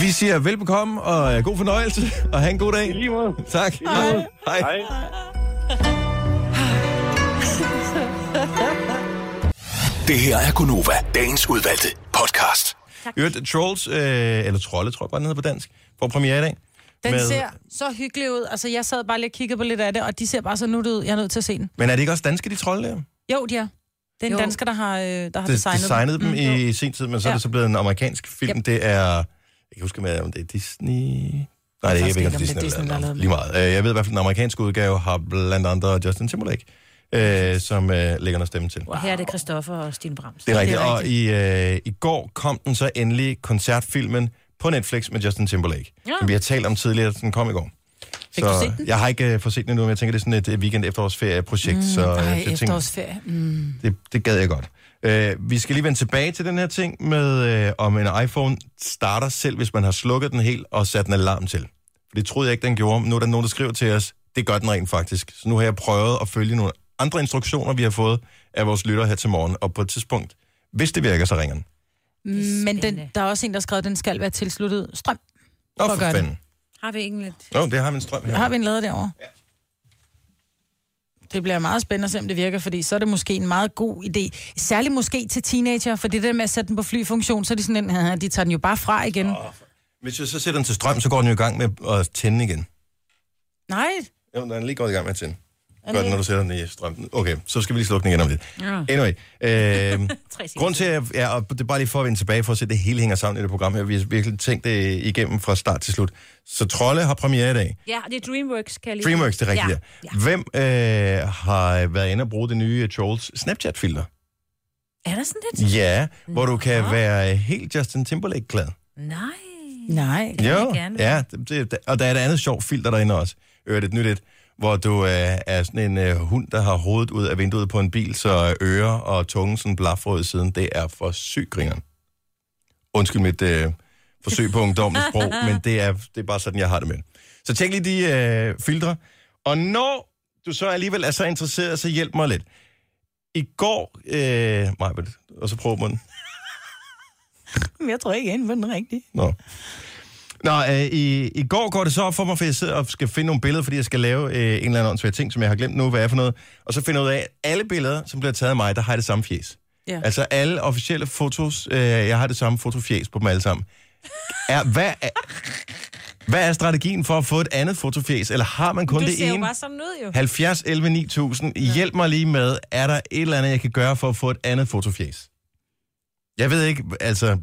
Speaker 1: Vi siger velbekomme og øh, god fornøjelse, <laughs> og have en god dag. I
Speaker 12: lige måde.
Speaker 1: Tak.
Speaker 12: måde.
Speaker 1: Hej. Hej.
Speaker 4: Det her er Gunova, dagens udvalgte podcast.
Speaker 1: Øvrigt, Trolls, øh, eller Trolle, tror jeg bare, den hedder på dansk, får premiere i dag.
Speaker 2: Den
Speaker 1: Med-
Speaker 2: med... ser så hyggelig ud. Altså, jeg sad bare lige og kiggede på lidt af det, og de ser bare så nuttet ud. Jeg er nødt til at se den.
Speaker 1: Men er det ikke også danske, de trolde der?
Speaker 2: Jo, de er. Det er en jo.
Speaker 3: Jo.
Speaker 2: dansker, der har, øh, der har
Speaker 1: Det-
Speaker 2: designet,
Speaker 1: designede dem
Speaker 2: Mm.
Speaker 1: i sin tid, men så er
Speaker 2: Ja.
Speaker 1: det så blevet en amerikansk film.
Speaker 2: Yep.
Speaker 1: Det er, jeg kan huske, med, om det er Disney... Nej, det er, jeg
Speaker 2: faktisk
Speaker 1: ved ikke, om
Speaker 2: ikke,
Speaker 1: det er Disney,
Speaker 2: der
Speaker 1: eller,
Speaker 2: lavede
Speaker 1: eller,
Speaker 2: dem.
Speaker 1: lige meget. Øh, Jeg ved i hvert fald, den amerikanske udgave har blandt andre Justin Timberlake, øh, som øh, lægger noget stemme til.
Speaker 3: Og her er det Christoffer og Stine Brams.
Speaker 1: Det er rigtigt. Og i, øh, i går kom den så endelig koncertfilmen på Netflix med Justin Timberlake,
Speaker 3: Ja.
Speaker 1: ja. som vi har talt om tidligere, den kom i går.
Speaker 2: Fik
Speaker 1: så
Speaker 2: du set den?
Speaker 1: Jeg har ikke øh, fået set den endnu, men jeg tænker, det er sådan et øh, weekend efterårsferieprojekt. Mm, så, øh,
Speaker 2: Ej,
Speaker 1: jeg tænker,
Speaker 2: efterårsferie. Mm.
Speaker 1: det, det gad jeg godt. Øh, vi skal lige vende tilbage til den her ting med, øh, om en iPhone starter selv, hvis man har slukket den helt og sat en alarm til. For det troede jeg ikke, den gjorde. Men Nu er der nogen, der skriver til os, det gør den rent faktisk. Så nu har jeg prøvet at følge nogle andre instruktioner, vi har fået af vores lyttere her til morgen. Og på et tidspunkt, hvis det virker, så ringer den.
Speaker 2: Men den, der er også en, der har skrevet, at den skal være tilsluttet strøm.
Speaker 1: Nå,
Speaker 2: For
Speaker 1: for
Speaker 2: at gøre det.
Speaker 1: fanden.
Speaker 3: Har vi ikke lidt?
Speaker 1: Nå, det har vi en strøm her.
Speaker 2: Har vi en lader derovre? Det bliver meget spændende at se, om det virker, fordi så er det måske en meget god idé. Særligt måske til teenager, for det der med at sætte den på flyfunktion, så er de sådan en, "Haha, de tager den jo bare fra igen.
Speaker 1: Hvis jeg så sætter den til strøm, så går den jo i gang med at tænde igen.
Speaker 2: Nej.
Speaker 1: Jo, den er lige gået i gang med at tænde.
Speaker 2: Er
Speaker 1: Gør
Speaker 2: det-
Speaker 1: den, når du sætter den i strømmen. Okay, så skal vi lige slukke den igen om lidt.
Speaker 2: Ja.
Speaker 1: Anyway, øh,
Speaker 2: <laughs> Tre sekunder.
Speaker 1: grund til, at ja, og det er bare lige for at vende tilbage, for at se, at det hele hænger sammen i det program her. Vi har virkelig tænkt det igennem fra start til slut. Så Trolle har premiere i dag.
Speaker 3: Ja, det er DreamWorks, kan jeg lige
Speaker 1: Dreamworks, det er rigtigt
Speaker 3: ja.
Speaker 1: ja. der. Hvem øh, har været inde og bruge det nye øh, Trolls Snapchat-filter?
Speaker 3: Er der sådan lidt?
Speaker 1: Ja, hvor du kan være øh, helt Justin Timberlake-glad.
Speaker 3: Nej.
Speaker 2: Nej.
Speaker 1: Jo, ja, det, det, og der er et andet sjovt filter derinde også. Øret et nyt et, hvor du øh, er sådan en øh, hund, der har hovedet ud af vinduet på en bil, så ører og tungen sådan blaffer ud i siden. Det er for syg, grineren. Undskyld mit øh, forsøg på ungdommens sprog, men det er, det er bare sådan, jeg har det med det. Så tjek lige de øh, filtre. Og når du så alligevel er så interesseret, så hjælp mig lidt. I går... Øh, Majbet, og så prøver man den.
Speaker 2: Men <laughs> jeg tror ikke, jeg er inde på den rigtige.
Speaker 1: Nå. Nå, øh, i, i går går det så op for mig, for jeg sidder og skal finde nogle billeder, fordi jeg skal lave øh, en eller anden åndssvær ting, som jeg har glemt nu, hvad er for noget. Og så finder jeg ud af, at alle billeder, som bliver taget af mig, der har jeg det samme fjes.
Speaker 2: Ja.
Speaker 1: Altså alle officielle fotos, øh, jeg har det samme fotofjæs på dem alle sammen. Er, hvad, er, hvad er strategien for at få et andet fotofjæs, eller har man kun
Speaker 2: du
Speaker 1: det
Speaker 2: ser jo
Speaker 1: ene?
Speaker 2: bare sådan ud, jo.
Speaker 1: 70 11 9000. Hjælp mig lige med, er der et eller andet, jeg kan gøre for at få et andet fotofjæs? Jeg ved ikke, altså,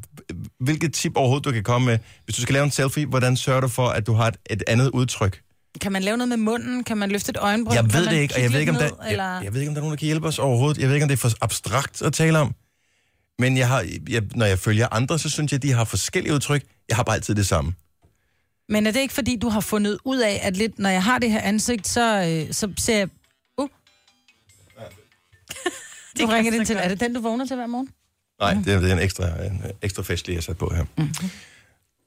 Speaker 1: hvilket tip overhovedet du kan komme med. Hvis du skal lave en selfie, hvordan sørger du for, at du har et, et andet udtryk?
Speaker 2: Kan man lave noget med munden? Kan man løfte et øjenbryn?
Speaker 1: Jeg
Speaker 2: Kan
Speaker 1: ved
Speaker 2: man
Speaker 1: det ikke, og
Speaker 2: kigge
Speaker 1: jeg ved
Speaker 2: lidt
Speaker 1: ikke, om der,
Speaker 2: ned, eller...
Speaker 1: jeg, jeg ved ikke, om der er nogen, der kan hjælpe os overhovedet. Jeg ved ikke, om det er for abstrakt at tale om. Men jeg har, jeg, når jeg følger andre, så synes jeg, de har forskellige udtryk. Jeg har bare altid det samme.
Speaker 2: Men er det ikke, fordi du har fundet ud af, at lidt, når jeg har det her ansigt, så, øh, så ser jeg... Uh. Du ringer den til. Er det den, du vågner til hver morgen?
Speaker 1: Nej,
Speaker 2: Mm.
Speaker 1: det er, det er en ekstra, en øh, ekstra festlig, jeg har sat på her. Mm.
Speaker 2: Mm-hmm.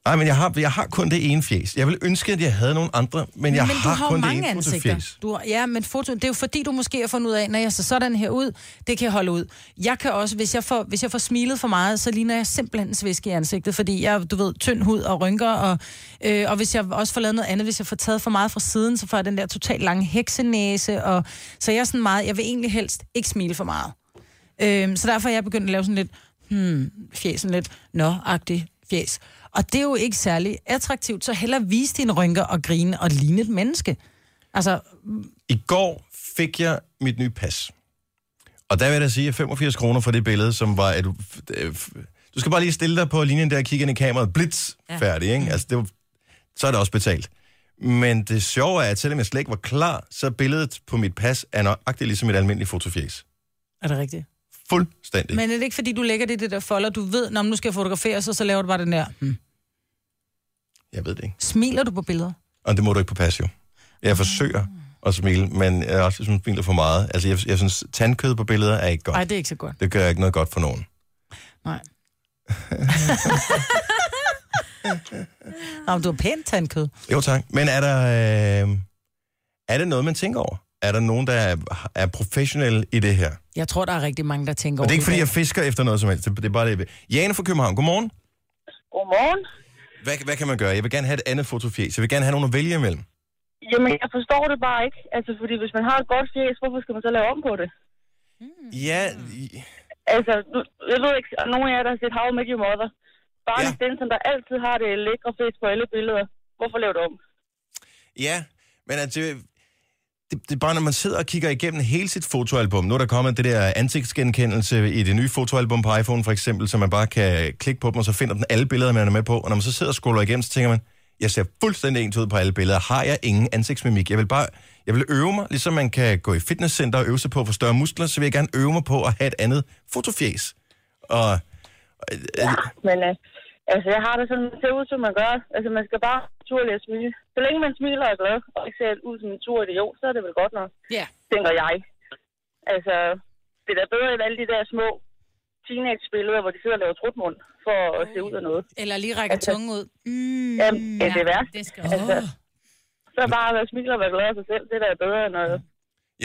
Speaker 1: Nej, men jeg har, jeg har kun det ene fjes. Jeg ville ønske, at jeg havde nogle andre, men jeg
Speaker 2: men
Speaker 1: har,
Speaker 2: du har jo
Speaker 1: kun det
Speaker 2: mange
Speaker 1: ene
Speaker 2: ansigter.
Speaker 1: fotofjes.
Speaker 2: Du har, ja, men foto, det er jo fordi, du måske har fundet ud af, når jeg ser sådan her ud, det kan jeg holde ud. Jeg kan også, hvis jeg får, hvis jeg får smilet for meget, så ligner jeg simpelthen en sviske i ansigtet, fordi jeg, du ved, tynd hud og rynker, og, øh, og hvis jeg også får lavet noget andet, hvis jeg får taget for meget fra siden, så får jeg den der totalt lange heksenæse, og, så jeg er sådan meget, jeg vil egentlig helst ikke smile for meget. Øhm, så derfor er jeg begyndt at lave sådan lidt, hmm, fjesen lidt, nå-agtig fjes. Og det er jo ikke særlig attraktivt, så hellere vise dine rynker og grine og ligne et menneske. Altså,
Speaker 1: I går fik jeg mit nye pas. Og der vil jeg da sige, at 85 kroner for det billede, som var... At, øh, du skal bare lige stille dig på linjen der og kigge ind i kameraet. Blitz!
Speaker 4: Ja.
Speaker 1: Ja. Færdig,
Speaker 2: Mm.
Speaker 1: ikke? Altså, det var, så er det også betalt. Men det sjove er, at selvom jeg slet ikke var klar, så er billedet på mit pas er nøjagtigt ligesom et almindeligt fotofjes.
Speaker 2: er det rigtigt?
Speaker 1: Fuldstændig.
Speaker 2: Men er det ikke, fordi du lægger det i det der folder, du ved, når nu skal jeg fotografere, så, så laver du bare den der. Hmm.
Speaker 1: Jeg ved det ikke.
Speaker 2: Smiler du på billeder?
Speaker 1: Og det må du ikke på pas, jo. Jeg forsøger at smile, men jeg er også jeg smiler for meget. Altså, jeg, jeg synes, tandkød på billeder er ikke godt.
Speaker 2: Nej, det er ikke så godt.
Speaker 1: Det gør ikke noget godt for nogen.
Speaker 2: Nej. <laughs> Nå, men du har pænt tandkød.
Speaker 1: Jo, tak. Men er der... Øh, er det noget, man tænker over? Er der nogen, der er, er professionelle i det her?
Speaker 2: Jeg tror, der er rigtig mange, der tænker
Speaker 1: Og det er ikke, fordi
Speaker 2: i
Speaker 1: jeg
Speaker 2: dag.
Speaker 1: fisker efter noget som helst. Det det er bare det. jeg vil. Jane fra København, godmorgen.
Speaker 13: Godmorgen.
Speaker 1: Hvad, hvad kan man gøre? Jeg vil gerne have et andet fotofjes. Jeg vil gerne have nogen at vælge imellem.
Speaker 13: Jamen, jeg forstår det bare ikke. Altså, fordi hvis man har et godt fjes, hvorfor skal man så lave om på det?
Speaker 1: Ja,
Speaker 13: Altså, nu, jeg ved ikke, og nogle af jer, der har set How I Met Your Mother. Barney ja. Stinson, der altid har det lækre fjes på alle billeder. Hvorfor lave det om?
Speaker 1: Ja, men altså, det, det er bare, når man sidder og kigger igennem hele sit fotoalbum. Nu er der kommet det der ansigtsgenkendelse i det nye fotoalbum på iPhone, for eksempel, så man bare kan klikke på dem, og så finder den alle billeder, man er med på. Og når man så sidder og scroller igennem, så tænker man, jeg ser fuldstændig ens ud på alle billeder. Har jeg ingen ansigtsmimik? Jeg vil bare jeg vil øve mig, ligesom man kan gå i fitnesscenter og øve sig på at få større muskler, så vil jeg gerne øve mig på at have et andet fotofjes. Og,
Speaker 13: Ja, men øh, altså, jeg har det sådan, man ser ud, som man gør. Altså, man skal bare naturligt at smile. Så længe man smiler og er glad, og ikke ser ud som en tur idiot, så er det vel godt nok.
Speaker 2: Ja.
Speaker 13: Tænker jeg. Altså, det er da bedre end alle de der små teenage-billeder, hvor de sidder og laver trutmund for at se ud af noget.
Speaker 2: Eller lige rækker tungen ud.
Speaker 13: Mm, Altså, Jamen, ja, det er værst.
Speaker 2: Det skal
Speaker 13: altså, så bare at være smiler og være glad af sig selv, det er da bedre end at...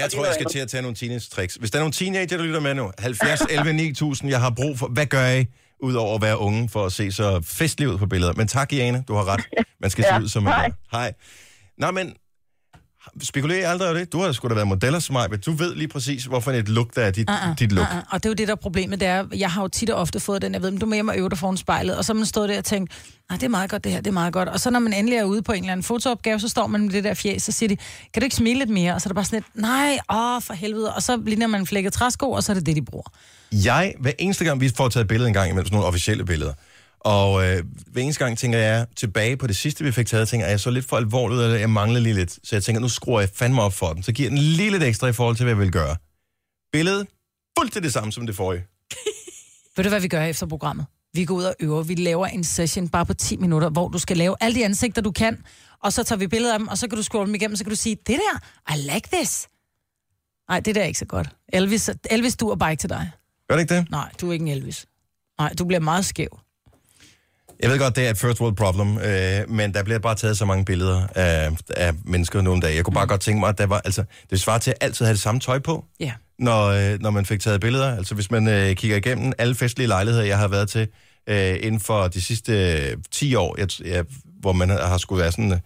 Speaker 1: Jeg tror, jeg skal til at tage nogle teenage-tricks. Hvis der er nogle teenager, der lytter med nu, 70 11 9000, jeg har brug for, hvad gør I, udover at være unge, for at se så festlig ud på billeder. Men tak, Jane, du har ret. Man skal
Speaker 4: Ja,
Speaker 1: se ud som man
Speaker 4: hej.
Speaker 1: gør. Hej. Nå, men spekulerer jeg aldrig over det. Du har sgu da været modeller, Smaj, men du ved lige præcis, hvorfor et look, der er dit, uh-uh, dit look. Uh-uh.
Speaker 2: Uh-uh. Og det er jo det, der er problemet, det er, jeg har jo tit og ofte fået den, jeg ved, men du er med hjem og øver dig foran spejlet, og så har man stået der og tænkt, nej, det er meget godt det her, det er meget godt. Og så når man endelig er ude på en eller anden fotoopgave, så står man med det der fjes, så siger de, kan du ikke smile lidt mere? Og så er det bare sådan lidt, nej, åh, for helvede. Og så ligner man en flækket træsko, og så er det det, de bruger.
Speaker 1: Jeg, hver eneste gang, vi får taget et billede en gang imellem, sådan nogle officielle billeder, og øh, hver eneste gang tænker jeg tilbage på det sidste, vi fik taget, tænker jeg, jeg så lidt for alvorlig ud, eller jeg mangler lige lidt. Så jeg tænker, nu skruer jeg fandme op for den. Så giver jeg den lige lidt ekstra i forhold til, hvad jeg vil gøre. Billedet fuldstændig det samme som det forrige.
Speaker 2: Ved du, hvad vi gør efter programmet? Vi går ud og øver. Vi laver en session bare på 10 minutter, hvor du skal lave alle de ansigter, du kan. Og så tager vi billeder af dem, og så kan du scrolle dem igennem, så kan du sige, det der, I like this. Nej, det der er ikke så godt. Elvis, Elvis du er bare ikke til dig.
Speaker 1: Gør det ikke det?
Speaker 2: Nej, du er ikke en Elvis. Nej, du bliver meget skæv.
Speaker 1: Jeg ved godt, det er et first world problem, øh, men der bliver bare taget så mange billeder af, af mennesker nu om dagen. Jeg kunne bare godt tænke mig, at der var, altså, det svarer til at altid have det samme tøj på.
Speaker 2: Ja.
Speaker 1: når, øh, når man fik taget billeder. Altså hvis man øh, kigger igennem alle festlige lejligheder, jeg har været til øh, inden for de sidste øh, 10 år, jeg, jeg, hvor man har har skulle være sådan øh,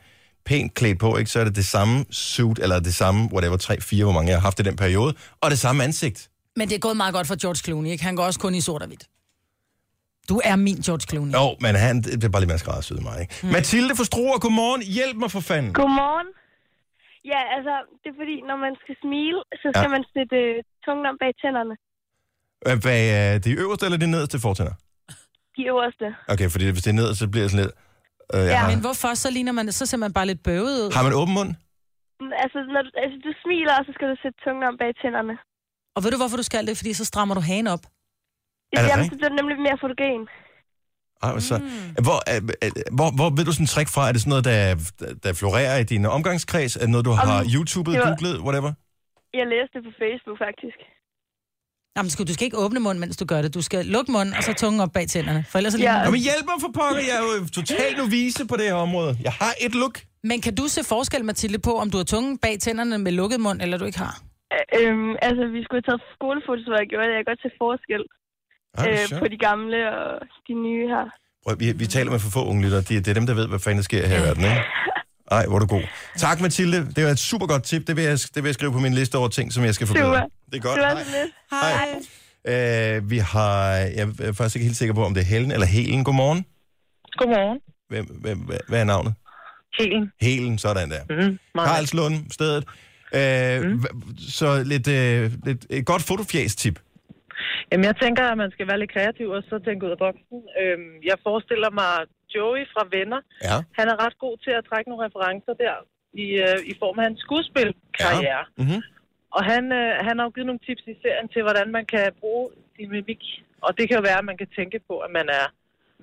Speaker 1: pænt klædt på, ikke? så er det det samme suit, eller det samme, whatever, 3-4, hvor mange jeg har haft i den periode, og det samme ansigt.
Speaker 2: Men det er gået meget godt for George Clooney, ikke? Han går også kun i sort og hvidt. Du er min George Clooney.
Speaker 1: Jo, men han, det er bare lige mere skræddersyet end mig, ikke? Mm. Mathilde fra Struer, godmorgen. Hjælp mig for fanden.
Speaker 14: Godmorgen. Ja, altså, det er fordi, når man skal smile, så skal
Speaker 1: Ja.
Speaker 14: ja. man sætte øh, tungen om bag tænderne.
Speaker 1: Øh, Hvad er de øverste eller de nederste fortænder?
Speaker 14: De øverste.
Speaker 1: Okay, fordi hvis det er nederst, så bliver jeg sådan lidt... Øh, jeg
Speaker 2: Ja,
Speaker 1: har,
Speaker 2: men hvorfor? Så ligner man, så ser man bare lidt bøvet ud.
Speaker 1: har man åben mund?
Speaker 14: Mm, Altså, når du, altså, du smiler, og så skal du sætte tungen om bag tænderne.
Speaker 2: Og ved du, hvorfor du skal det? Fordi så strammer du hagen op.
Speaker 1: Er det
Speaker 14: Jamen,
Speaker 1: rigtigt?
Speaker 14: så bliver det nemlig mere fotogen.
Speaker 1: Ej, så, hvor, øh, øh, hvor, hvor ved du sådan en trick fra? Er det sådan noget, der, der florerer i din omgangskreds? Er det noget, du har
Speaker 14: Om-
Speaker 1: YouTubet,
Speaker 14: det var-
Speaker 1: googlet, whatever?
Speaker 14: Jeg læste det på Facebook, faktisk.
Speaker 2: Jamen, skal, du skal ikke åbne munden, mens du gør det. Du skal lukke munden, og så tungen op bag tænderne. For ellers så ligner
Speaker 1: Ja.
Speaker 2: du-
Speaker 1: Jamen hjælp mig for pokker, jeg er jo total novise på det her område. Jeg har et look.
Speaker 2: Men kan du se forskel, Mathilde, på, om du har tungen bag tænderne med lukket mund, eller du ikke har?
Speaker 14: Øh, Øhm, altså, vi skulle have taget skolefotos, hvor jeg gjorde det. Jeg kan godt se forskel
Speaker 1: Ej, hvor
Speaker 14: øh,
Speaker 1: sjovt.
Speaker 14: på de gamle og de nye her.
Speaker 1: Prøv, vi, vi taler med for få unge lyttere. De, det er dem, der ved, hvad fanden der sker her i verden, ikke? Ej, hvor er du god. Tak, Mathilde. Det var et super godt tip. Det vil, jeg, det vil jeg skrive på min liste over ting, som jeg skal forbedre.
Speaker 14: Super.
Speaker 1: Det er godt.
Speaker 14: Det var
Speaker 1: Hej.
Speaker 14: så lidt.
Speaker 1: Hej. Øh, vi har... Jeg er faktisk ikke helt sikker på, om det er Helen eller Helen. Godmorgen.
Speaker 15: Godmorgen.
Speaker 1: Hvem, hvem, hvad, hvad er navnet?
Speaker 15: Helen.
Speaker 1: Helen, sådan der.
Speaker 15: Mm,
Speaker 1: Karlslund, stedet. Øh,
Speaker 15: Mhm.
Speaker 1: mm. Så lidt, øh, lidt et godt fotofjæs-tip.
Speaker 15: Jamen, jeg tænker, at man skal være lidt kreativ, og så tænke ud af boksen. Øhm, jeg forestiller mig Joey fra Venner.
Speaker 1: Ja.
Speaker 15: Han er ret god til at trække nogle referencer der, i, øh, i form af hans skuespilkarriere. Ja.
Speaker 1: Mm-hmm.
Speaker 15: Og han, øh, han har jo givet nogle tips i serien til, hvordan man kan bruge sin mimik. Og det kan jo være, at man kan tænke på, at man er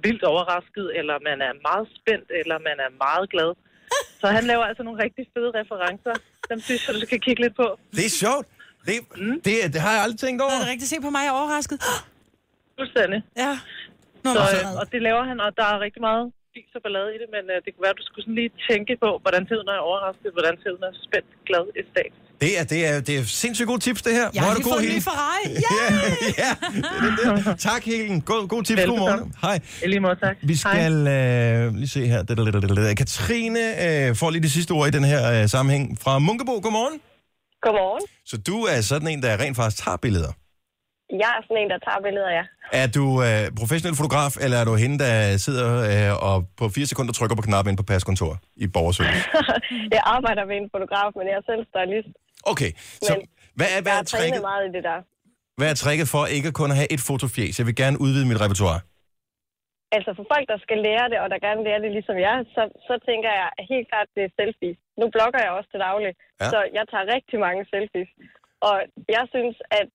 Speaker 15: vildt overrasket, eller man er meget spændt, eller man er meget glad. Så han laver altså nogle rigtig fede referencer. Dem synes jeg, du skal kigge lidt på.
Speaker 1: Det er sjovt. Det,
Speaker 15: Mhm.
Speaker 1: mm. det, det har jeg aldrig tænkt over.
Speaker 2: Har du rigtig set på mig? Jeg er overrasket. <gasps>
Speaker 15: Fuldstændig.
Speaker 2: Ja. Nå,
Speaker 15: så,
Speaker 2: hvor
Speaker 15: øh, og det laver han, og der er rigtig meget fis og ballade i det, men øh, det kunne være, at du skulle sådan lige tænke på, hvordan ser ud, når jeg er overrasket, hvordan ser ud, når jeg er spændt, glad, ekstat.
Speaker 1: Det er, det er, det er sindssygt gode tips, det her.
Speaker 15: Jeg
Speaker 1: Hvor er
Speaker 15: har
Speaker 1: du
Speaker 15: lige
Speaker 1: god,
Speaker 15: fået en ny
Speaker 1: Helen.
Speaker 2: Ferrari.
Speaker 1: <laughs> Ja, ja. Det er det der. Tak, Helen. God, god tips. God morgen. Hej.
Speaker 15: Lige måde, tak.
Speaker 1: Vi skal øh, lige se her. Det, det, det, det, det. Katrine øh, får lige det sidste ord i den her øh, sammenhæng fra Munkebo. Godmorgen.
Speaker 16: Godmorgen.
Speaker 1: Så du er sådan en, der rent faktisk tager billeder.
Speaker 16: Jeg er sådan en, der tager billeder, ja.
Speaker 1: Er du øh, professionel fotograf, eller er du hende, der sidder øh, og på fire sekunder trykker på knappen ind på paskontor i borgerservice?
Speaker 16: jeg arbejder med en fotograf, men jeg er selv stylist.
Speaker 1: Okay, så hvad er, hvad,
Speaker 16: Jeg
Speaker 1: er
Speaker 16: har trænet
Speaker 1: tricket,
Speaker 16: meget i det der.
Speaker 1: hvad er tricket for ikke kun at have et fotofjes? Jeg vil gerne udvide mit repertoire.
Speaker 16: Altså for folk, der skal lære det, og der gerne lærer det ligesom jeg, så, så tænker jeg helt klart, det er selfies. Nu blogger jeg også til daglig,
Speaker 1: Ja.
Speaker 16: ja. så jeg tager rigtig mange selfies. Og jeg synes, at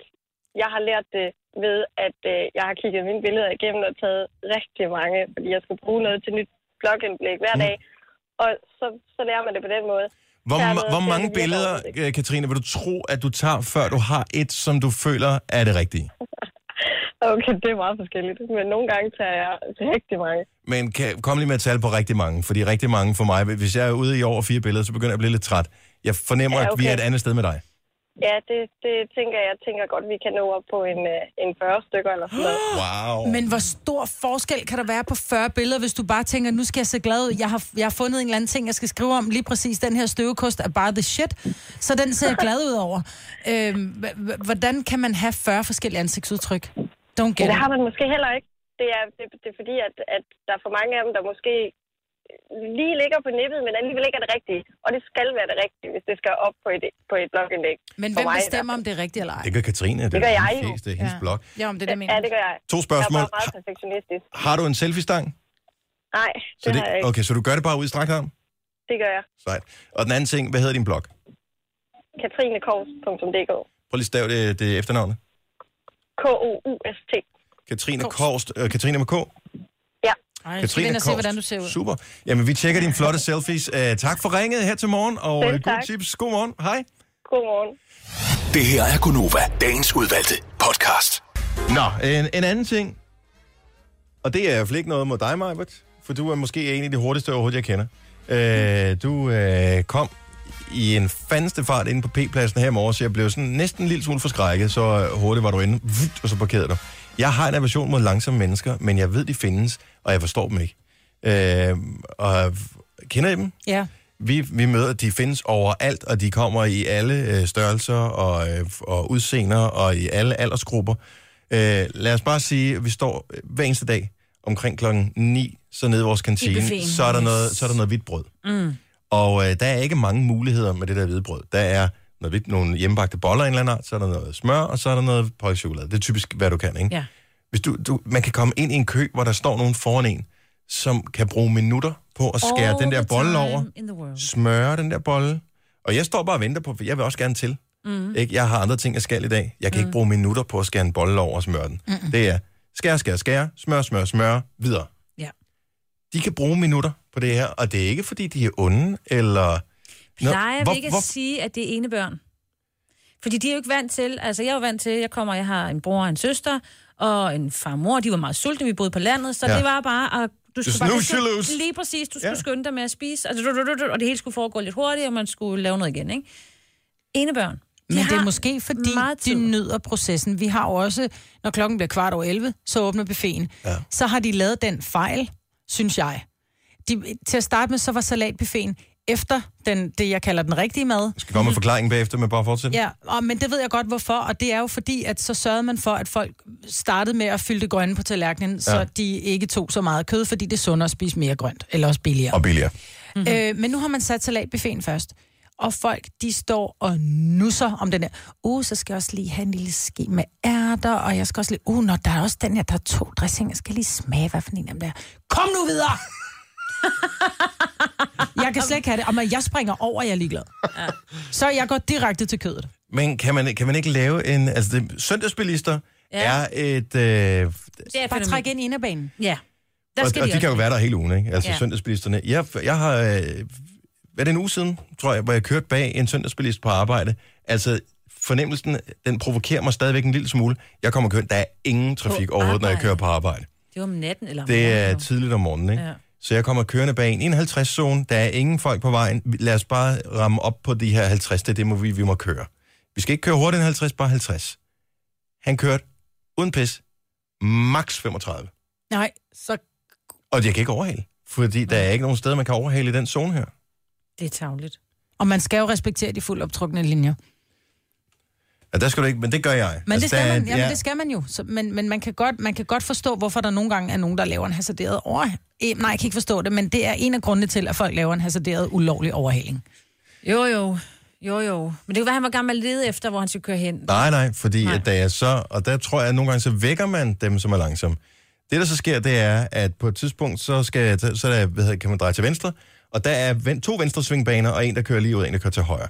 Speaker 16: jeg har lært det ved, at øh, jeg har kigget mine billeder igennem og taget rigtig mange, fordi jeg skal bruge noget til nyt blogindblik hver
Speaker 1: Mm.
Speaker 16: dag. Og så, så lærer man det på den måde.
Speaker 1: Hvor,
Speaker 16: Der er
Speaker 1: ma-
Speaker 16: noget
Speaker 1: hvor
Speaker 16: til, at
Speaker 1: mange
Speaker 16: det virker
Speaker 1: billeder, øh, Katrine, vil du tro, at du tager, før du har et, som du føler er det rigtige?
Speaker 16: Okay, det er meget forskelligt, men nogle gange tager jeg rigtig mange.
Speaker 1: Men kan, kom lige med et tal på rigtig mange, fordi rigtig mange for mig, hvis jeg er ude i over fire billeder, så begynder jeg at blive lidt træt. Jeg fornemmer,
Speaker 16: Ja,
Speaker 1: at vi
Speaker 16: okay.
Speaker 1: er et andet sted med dig.
Speaker 16: Ja, det, det tænker jeg. Jeg tænker godt, vi kan nå op på en, øh, en 40 stykker eller sådan noget.
Speaker 1: Wow.
Speaker 2: Men hvor stor forskel kan der være på 40 billeder, hvis du bare tænker, nu skal jeg se glad ud. Jeg har, jeg har fundet en eller anden ting, jeg skal skrive om. Lige præcis den her støvekost er bare the shit. Så den ser jeg glad ud over. Øhm, h- h- hvordan kan man have 40 forskellige ansigtsudtryk? Don't
Speaker 16: Men
Speaker 2: get
Speaker 16: det har
Speaker 2: it.
Speaker 16: man måske heller ikke. Det er, det, det er fordi, at, at der er for mange af dem, der måske lige ligger på nippet, men alligevel ikke er det rigtige. Og det skal være det rigtige, hvis det skal op på et, på et blogindlæg.
Speaker 2: Men
Speaker 16: For
Speaker 2: hvem
Speaker 16: mig i
Speaker 2: bestemmer, om det er rigtigt eller ej?
Speaker 1: Det gør Katrine, det,
Speaker 16: Det gør
Speaker 1: er
Speaker 16: jeg
Speaker 1: hendes
Speaker 16: jo.
Speaker 1: fjes, det er hendes
Speaker 2: Ja.
Speaker 1: blog.
Speaker 2: Ja, om det er det, jeg mener.
Speaker 16: Ja, det gør jeg.
Speaker 1: To spørgsmål.
Speaker 16: Jeg er bare meget perfektionistisk.
Speaker 1: Har du en selfie-stang?
Speaker 16: Nej, det,
Speaker 1: Så det,
Speaker 16: har jeg ikke.
Speaker 1: okay, så du gør det bare ud i strakt arm?
Speaker 16: Det gør jeg.
Speaker 1: Sejt. Og den anden ting, hvad hedder din blog?
Speaker 16: katrinekors.dk
Speaker 1: Prøv lige at stave det, det efternavne.
Speaker 16: K-O-U-S-T.
Speaker 1: Katrine Korst. Øh, Katrine med K.
Speaker 16: Ja.
Speaker 2: Ej,
Speaker 1: Katrine
Speaker 2: Katrine se,
Speaker 1: Korst.
Speaker 2: hvordan du ser ud.
Speaker 1: Super. Jamen, vi tjekker dine flotte selfies. Øh, tak for ringet her til morgen, og øh,
Speaker 4: Selv
Speaker 1: gode
Speaker 4: tak.
Speaker 1: tips. God morgen. Hej.
Speaker 16: Godmorgen.
Speaker 4: Det her er Gunova, dagens udvalgte podcast.
Speaker 1: Nå, en, en anden ting. Og det er i hvert fald ikke noget mod dig, Majbert, for du er måske en af de hurtigste overhovedet, jeg kender. Øh, du øh, kom i en fandeste fart inde på P-pladsen her i morges, så jeg blev sådan næsten en lille smule forskrækket, så øh, hurtigt var du inde, Vut, og så parkerede du. Jeg har en aversion mod langsomme mennesker, men jeg ved, de findes, og jeg forstår dem ikke. Øh, og kender I dem?
Speaker 2: Ja.
Speaker 1: vi, vi møder, de findes overalt, og de kommer i alle øh, størrelser og, øh, og udseender og i alle aldersgrupper. Øh, lad os bare sige, at vi står øh, hver eneste dag omkring klokken 9, så nede i vores kantine,
Speaker 17: buffeten.
Speaker 1: så er, der
Speaker 17: Yes.
Speaker 1: noget, så er der noget hvidt brød.
Speaker 17: Mm.
Speaker 1: Og øh, der er ikke mange muligheder med det der hvide brød. Der er noget hvidt, nogle hjemmebagte boller af en eller anden art, så er der noget smør, og så er der noget pålægtschokolade. Det er typisk, hvad du kan, ikke?
Speaker 17: Ja.
Speaker 1: Hvis du, du, man kan komme ind i en kø, hvor der står nogen foran en, som kan bruge minutter på at skære
Speaker 17: All
Speaker 1: den der
Speaker 17: the
Speaker 1: bolle
Speaker 17: time
Speaker 1: over,
Speaker 17: in the world.
Speaker 1: smøre den der bolle. Og jeg står bare og venter på, for jeg vil også gerne til.
Speaker 2: Mhm.
Speaker 17: Mm.
Speaker 1: Ikke? Jeg har andre ting, jeg skal i dag. Jeg kan mm. ikke
Speaker 17: Mm.
Speaker 1: bruge minutter på at skære en bolle over og smøre den.
Speaker 2: Mhm.
Speaker 17: Mm-mm.
Speaker 1: Det er skær, skær, skær, smør, smør, smør, videre.
Speaker 2: Ja.
Speaker 1: De kan bruge minutter på det her, og det er ikke, fordi de er onde, eller... Nå,
Speaker 3: Plejer
Speaker 1: hvor-
Speaker 3: vi ikke
Speaker 1: hvor-
Speaker 3: at sige, at det er ene børn? Fordi de er jo ikke vant til, altså jeg er jo vant til, jeg kommer, jeg har en bror og en søster, og en far og mor, de var meget sultne, vi boede på landet, så
Speaker 17: Ja.
Speaker 3: ja. det var bare at... Du
Speaker 17: Just
Speaker 3: skulle bare,
Speaker 17: no
Speaker 3: du skulle-
Speaker 17: shillos.
Speaker 3: lige præcis,
Speaker 17: Ja.
Speaker 3: du skulle ja. skynde dig med at spise, og, og det hele skulle foregå lidt hurtigt, og man skulle lave noget igen, ikke? Ene børn.
Speaker 2: Men det er måske, fordi de nyder processen. Vi har jo også, når klokken bliver kvart over 11, så åbner buffeten.
Speaker 1: Ja.
Speaker 2: Så har de lavet den fejl, synes jeg. De, til at starte med, så var salatbuffeten efter den, det, jeg kalder den rigtige mad.
Speaker 1: Skal komme med forklaringen bagefter, men bare fortsæt.
Speaker 2: Mm. Ja, og, men det ved jeg godt, hvorfor. Og det er jo fordi, at så sørgede man for, at folk startede med at fylde det grønne på tallerkenen, ja.
Speaker 1: Ja.
Speaker 2: så de ikke tog så meget kød, fordi det er sundere at spise mere grønt, eller også billigere.
Speaker 1: Og billigere.
Speaker 2: Mm-hmm. Øh, men nu har man sat salatbuffeten først. Og folk, de står og nusser om den der. Uh, så skal jeg også lige have en lille ske med ærter, og jeg skal også lige... Uh, når der er også den her, der er to dressing, jeg skal lige smage, hvad for en af dem der. Kom nu
Speaker 1: <laughs>
Speaker 2: videre! jeg kan slet ikke have det. Og man, jeg springer over, jeg er ligeglad. Ja. Så jeg går direkte til kødet.
Speaker 1: Men kan man, kan man ikke lave en... Altså, det, søndagsbilister ja.
Speaker 2: Ja.
Speaker 1: er et... Øh,
Speaker 2: Det er Bare træk ind i inderbanen.
Speaker 3: Ja.
Speaker 1: og, og de kan jo være der hele ugen, ikke? Altså, ja.
Speaker 2: Ja.
Speaker 1: søndagsbilisterne. Jeg, jeg har... Øh, hvad er det en uge siden, tror jeg, hvor jeg kørte bag en søndagsbilist på arbejde. Altså, fornemmelsen, den provokerer mig stadigvæk en lille smule. Jeg kommer kørt, der er ingen trafik
Speaker 3: På
Speaker 1: overhovedet, når jeg
Speaker 3: arbejde.
Speaker 1: kører på arbejde.
Speaker 3: Det var om natten, eller om
Speaker 1: Det er
Speaker 3: morgenen.
Speaker 1: tidligt om morgenen, ikke?
Speaker 3: Ja.
Speaker 1: Så jeg kommer kørende bag en 51-zone, der er ingen folk på vejen. Vi- Lad os bare ramme op på de her 50, det er det, må vi, vi må køre. Vi skal ikke køre hurtigere end 50, bare 50. Han kørte uden pis, maks 35.
Speaker 2: Nej, så
Speaker 1: Og jeg kan ikke overhale, fordi der er ikke nogen steder, man kan overhale i den zone her.
Speaker 3: det er tavligt.
Speaker 2: Og man skal jo respektere de fuldt optrukne linjer.
Speaker 1: Ja, der skal du ikke, men det gør jeg.
Speaker 2: Men det
Speaker 1: Altså,
Speaker 2: skal
Speaker 1: der, er-
Speaker 2: man, jamen, det skal man jo. Så, men men man, kan godt, man kan godt forstå, hvorfor der nogle gange er nogen, der laver en hasarderet over... Eh, Nej, jeg kan ikke forstå det, men det er en af grundene til, at folk laver en hasarderet ulovlig overhaling.
Speaker 3: Jo, jo. Jo, jo. Men det kan være, han var gammel lede efter, hvor han skulle køre hen.
Speaker 1: Nej, nej, fordi nej. At da jeg så, og der tror jeg, at nogle gange så vækker man dem, som er langsomme. Det, der så sker, det er, at på et tidspunkt, så, skal, jeg ta- så er der, hvad hedder, kan man dreje til venstre, og der er ven- to venstre svingbaner, og en, der kører lige ud, og en, der kører til højre.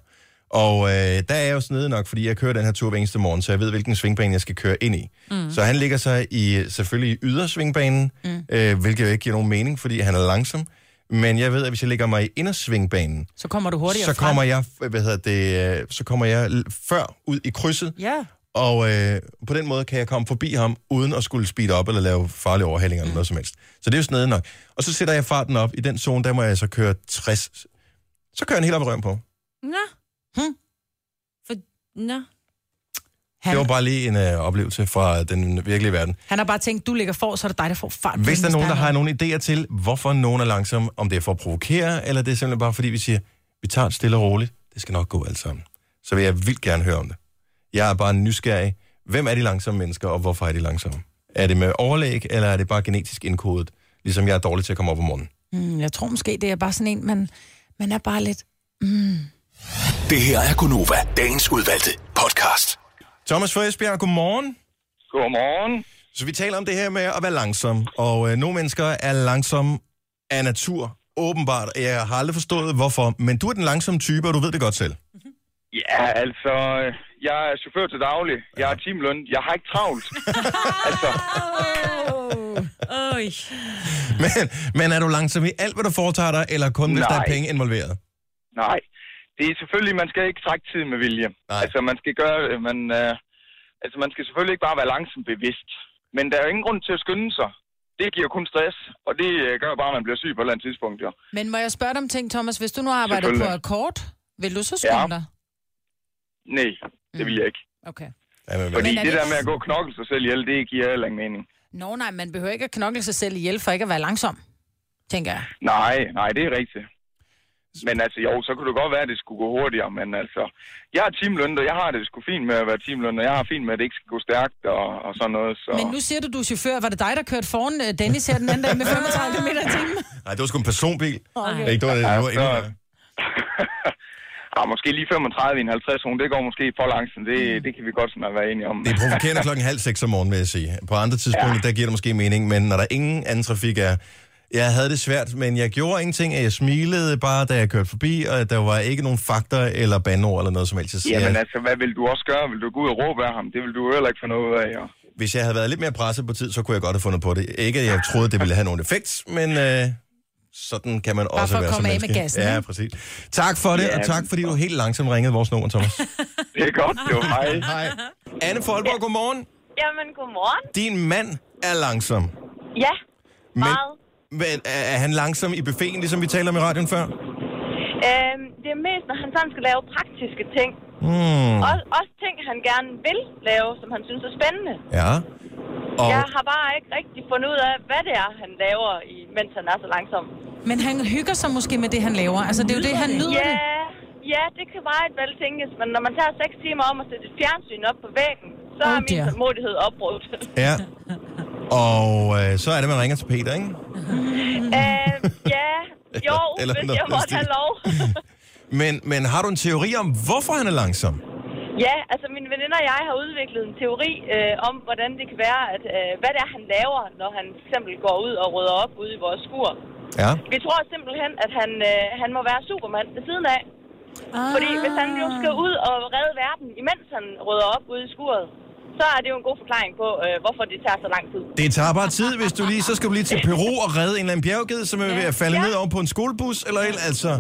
Speaker 1: Og øh, der er jeg jo snedig nok, fordi jeg kører den her tur hver eneste morgen, så jeg ved, hvilken svingbane jeg skal køre ind i. Mm. Så han ligger sig i, selvfølgelig i ydersvingbanen, mm. øh, hvilket jo ikke giver nogen mening, fordi han er langsom. Men jeg ved, at hvis jeg ligger mig i indersvingbanen,
Speaker 2: Så kommer du hurtigere
Speaker 1: så
Speaker 2: frem.
Speaker 1: kommer jeg, hvad hedder det, øh, så kommer jeg l- før ud i krydset,
Speaker 2: Ja.
Speaker 1: og øh, på den måde kan jeg komme forbi ham, uden at skulle speede op eller lave farlige overhællinger eller noget som helst. Så det er jo snedig nok. Og så sætter jeg farten op. I den zone, der må jeg så køre 60. Så kører han helt op i røven på.
Speaker 3: Nå.
Speaker 2: Hm.
Speaker 3: For, nå.
Speaker 1: Det var bare lige en øh, oplevelse fra den virkelige verden.
Speaker 2: Han har bare tænkt, du ligger for, så er det dig, der får fart. på
Speaker 1: Hvis der er
Speaker 2: den
Speaker 1: nogen, der har
Speaker 2: stærke.
Speaker 1: nogle idéer til, hvorfor nogen er langsom, om det er for at provokere, eller det er simpelthen bare fordi, vi siger, vi tager det stille og roligt, det skal nok gå alt sammen. Så vil jeg vildt gerne høre om det. Jeg er bare nysgerrig. Hvem er de langsomme mennesker, og hvorfor er de langsomme? Er det med overlæg, eller er det bare genetisk indkodet, ligesom jeg er dårlig til at komme op om morgenen?
Speaker 2: Mm, jeg tror måske, det er bare sådan en, man, man er bare lidt... Mm.
Speaker 4: Det her er Gonova, dagens udvalgte podcast.
Speaker 1: Thomas fra Esbjerg, godmorgen.
Speaker 12: Godmorgen.
Speaker 1: Så vi taler om det her med at være langsom, og øh, nogle mennesker er langsomme af natur, åbenbart. Jeg har aldrig forstået, hvorfor, men du er den langsomme type, og du ved det godt selv.
Speaker 12: Ja, altså, øh, jeg er chauffør til daglig. Jeg er timeløn. Jeg har ikke travlt. altså,
Speaker 3: Øj.
Speaker 1: Men, men er du langsom i alt, hvad du foretager dig, eller kun hvis der er
Speaker 12: Nej.
Speaker 1: penge involveret?
Speaker 12: nej. Det er selvfølgelig, man skal ikke trække tid med vilje. Nej. Altså, man skal gøre, øh, man, øh, altså, man skal selvfølgelig ikke bare være langsomt bevidst. Men der er jo ingen grund til at skynde sig. Det giver kun stress, og det øh, gør bare, at man bliver syg på et eller andet tidspunkt, jo.
Speaker 2: Men må jeg spørge dig om ting, Thomas? Hvis du nu arbejder på
Speaker 12: Selvfølgelig.
Speaker 2: akkord, vil du så skynde
Speaker 12: Ja.
Speaker 2: ja. dig?
Speaker 12: Nej, det vil jeg ikke.
Speaker 2: Okay.
Speaker 12: Fordi
Speaker 2: Men er
Speaker 12: det
Speaker 2: det-
Speaker 12: der med at gå og knokle sig selv ihjel, det giver heller ingen mening.
Speaker 2: Nå nej, man behøver ikke at knokle sig selv ihjel for ikke at være langsom, tænker jeg.
Speaker 12: Nej, nej, det er rigtigt. Men altså, jo, så kunne det godt være, at det skulle gå hurtigere, men altså, jeg er teamløn, og jeg har det sgu fint med at være teamløn, og jeg har fint med, at det ikke skal gå stærkt og, og sådan noget, så...
Speaker 2: Men nu siger du, du er chauffør. Var det dig, der kørte foran øh, Dennis her den anden dag med 35 km i timen?
Speaker 1: Nej, det var sgu en personbil.
Speaker 2: Okay.
Speaker 1: Ikke, det var, det var Øh, endnu
Speaker 12: <laughs>
Speaker 1: værre.
Speaker 12: Ja, Ah, måske lige 35 i en 50 hun, det går måske for langsomt, det, det kan vi godt sådan være enige om.
Speaker 1: Mm. Det er provokerende klokken halv seks om morgenen, vil jeg sige. På andre tidspunkter, ja. der giver det måske mening, men når der ingen anden trafik er... Jeg havde det svært, men jeg gjorde ingenting, at jeg smilede bare, da jeg kørte forbi, og der var ikke nogen faktor eller bandord eller noget som helst. Jeg siger,
Speaker 12: <laughs> Jamen altså, hvad vil du også gøre? Vil du gå ud og råbe af ham? Det vil du jo heller ikke få noget ud af, jo.
Speaker 1: Hvis jeg havde været lidt mere presset på tid, så kunne jeg godt have fundet på det. Ikke, at jeg troede, det ville have nogen effekt, men øh, sådan kan man også
Speaker 2: for at
Speaker 1: være som
Speaker 2: komme af med
Speaker 1: menneske.
Speaker 2: gassen,
Speaker 1: Ja,
Speaker 2: ikke?
Speaker 1: præcis. Tak for det,
Speaker 12: Ja,
Speaker 1: og tak fordi du helt langsomt ringede vores nummer, Thomas.
Speaker 12: Det er godt, jo.
Speaker 14: <laughs>
Speaker 12: Hej.
Speaker 1: Hej. Anne Folborg, godmorgen.
Speaker 14: Jamen, godmorgen.
Speaker 1: Din mand er langsom.
Speaker 14: Ja,
Speaker 1: Men,
Speaker 14: meget.
Speaker 1: men er er han langsom i buffeten, ligesom vi talte om i radioen før?
Speaker 14: Øhm, det er mest, når han sådan skal lave praktiske ting.
Speaker 1: Mm.
Speaker 14: Også, også ting, han gerne vil lave, som han synes er spændende.
Speaker 1: Ja.
Speaker 14: Og...
Speaker 1: Og
Speaker 14: Jeg har bare ikke rigtig fundet ud af, hvad det er, han laver, i, mens han er så langsom.
Speaker 2: Men han hygger sig måske med det, han laver. Altså, det er jo det, han nyder
Speaker 14: ja,
Speaker 2: det.
Speaker 14: Ja, det kan meget vel tænkes, men når man tager seks timer om altså. at sætte et fjernsyn op på væggen, så
Speaker 2: Åh,
Speaker 14: er min
Speaker 2: Oh, dear.
Speaker 14: tålmodighed
Speaker 1: <laughs>
Speaker 14: opbrudt.
Speaker 1: ja. Og øh, så er det, man ringer til Peter, ikke?
Speaker 14: øh, ja, jo,
Speaker 1: Eller- eller
Speaker 14: hvis
Speaker 1: noget
Speaker 14: jeg
Speaker 1: af den
Speaker 14: måtte
Speaker 1: stil.
Speaker 14: have lov.
Speaker 1: Men, men har du en teori om, hvorfor han er langsom?
Speaker 14: Ja, altså mine veninder og jeg har udviklet en teori øh, om, hvordan det kan være, at, øh, hvad det er, han laver, når han for eksempel går ud og rydder op ude i vores skur.
Speaker 1: Ja.
Speaker 14: Vi tror simpelthen, at han, øh, han må være supermand ved siden af. Ah. Fordi hvis han jo skal ud og redde verden, imens han rydder op ude i skuret, så er det jo en god forklaring på, øh, hvorfor det tager så lang tid.
Speaker 1: Det tager bare tid, hvis du lige... Så skal du lige til Peru og redde en eller anden bjergged, som er ved at falde ned over på en skolebus, eller et, altså...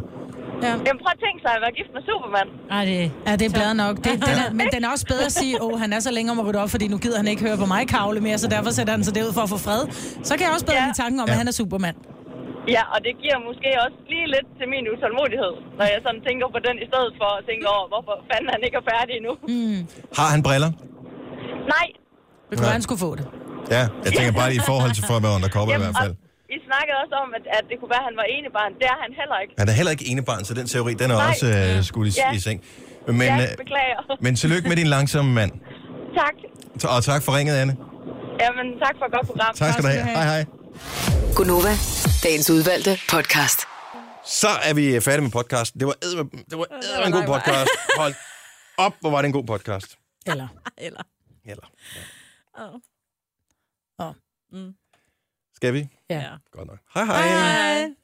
Speaker 2: Ja.
Speaker 14: Jamen prøv at tænke sig at være gift med Superman.
Speaker 2: Ej, det, ja, det er bladet nok. Det, den er, men den er også bedre at sige, åh, han er så længe om at rydde op, fordi nu gider han ikke høre på mig kavle mere, så derfor sætter han sig derud for at få fred. Så kan jeg også bedre ja. lide tanken om, ja. at han er supermand.
Speaker 14: Ja, og det giver måske også lige lidt til min utålmodighed, når jeg sådan tænker på den i stedet for at tænke over, hvorfor fanden han ikke er færdig endnu. Mm.
Speaker 1: Har han briller?
Speaker 14: Nej.
Speaker 2: Det kunne være, han skulle få det.
Speaker 1: Ja, jeg tænker bare lige i forhold til for at være undercover i hvert fald.
Speaker 14: I snakkede også om, at, at det kunne være, at han var enebarn. Det er han heller ikke.
Speaker 1: Han er heller ikke enebarn, så den teori, den er
Speaker 14: Nej.
Speaker 1: også øh, skudt i,
Speaker 14: Ja.
Speaker 1: i seng. Men,
Speaker 14: ja,
Speaker 1: øh,
Speaker 14: beklager.
Speaker 1: men tillykke med din langsomme mand.
Speaker 14: tak.
Speaker 1: T- Og tak for ringet, Anne.
Speaker 14: Jamen, tak for et godt program.
Speaker 1: Tak skal du have. Hej, hej.
Speaker 5: Gunova, dagens udvalgte podcast.
Speaker 1: Så er vi øh, færdige med podcasten. Det var eddermame- det var eddermame en god podcast. Hold op, hvor var det en god podcast.
Speaker 2: Eller.
Speaker 3: Eller.
Speaker 1: Eller.
Speaker 3: Oh.
Speaker 2: Oh. Mm.
Speaker 3: Mm.
Speaker 1: Skal vi?
Speaker 2: Ja.
Speaker 1: Godt nok. Hej hej. hej.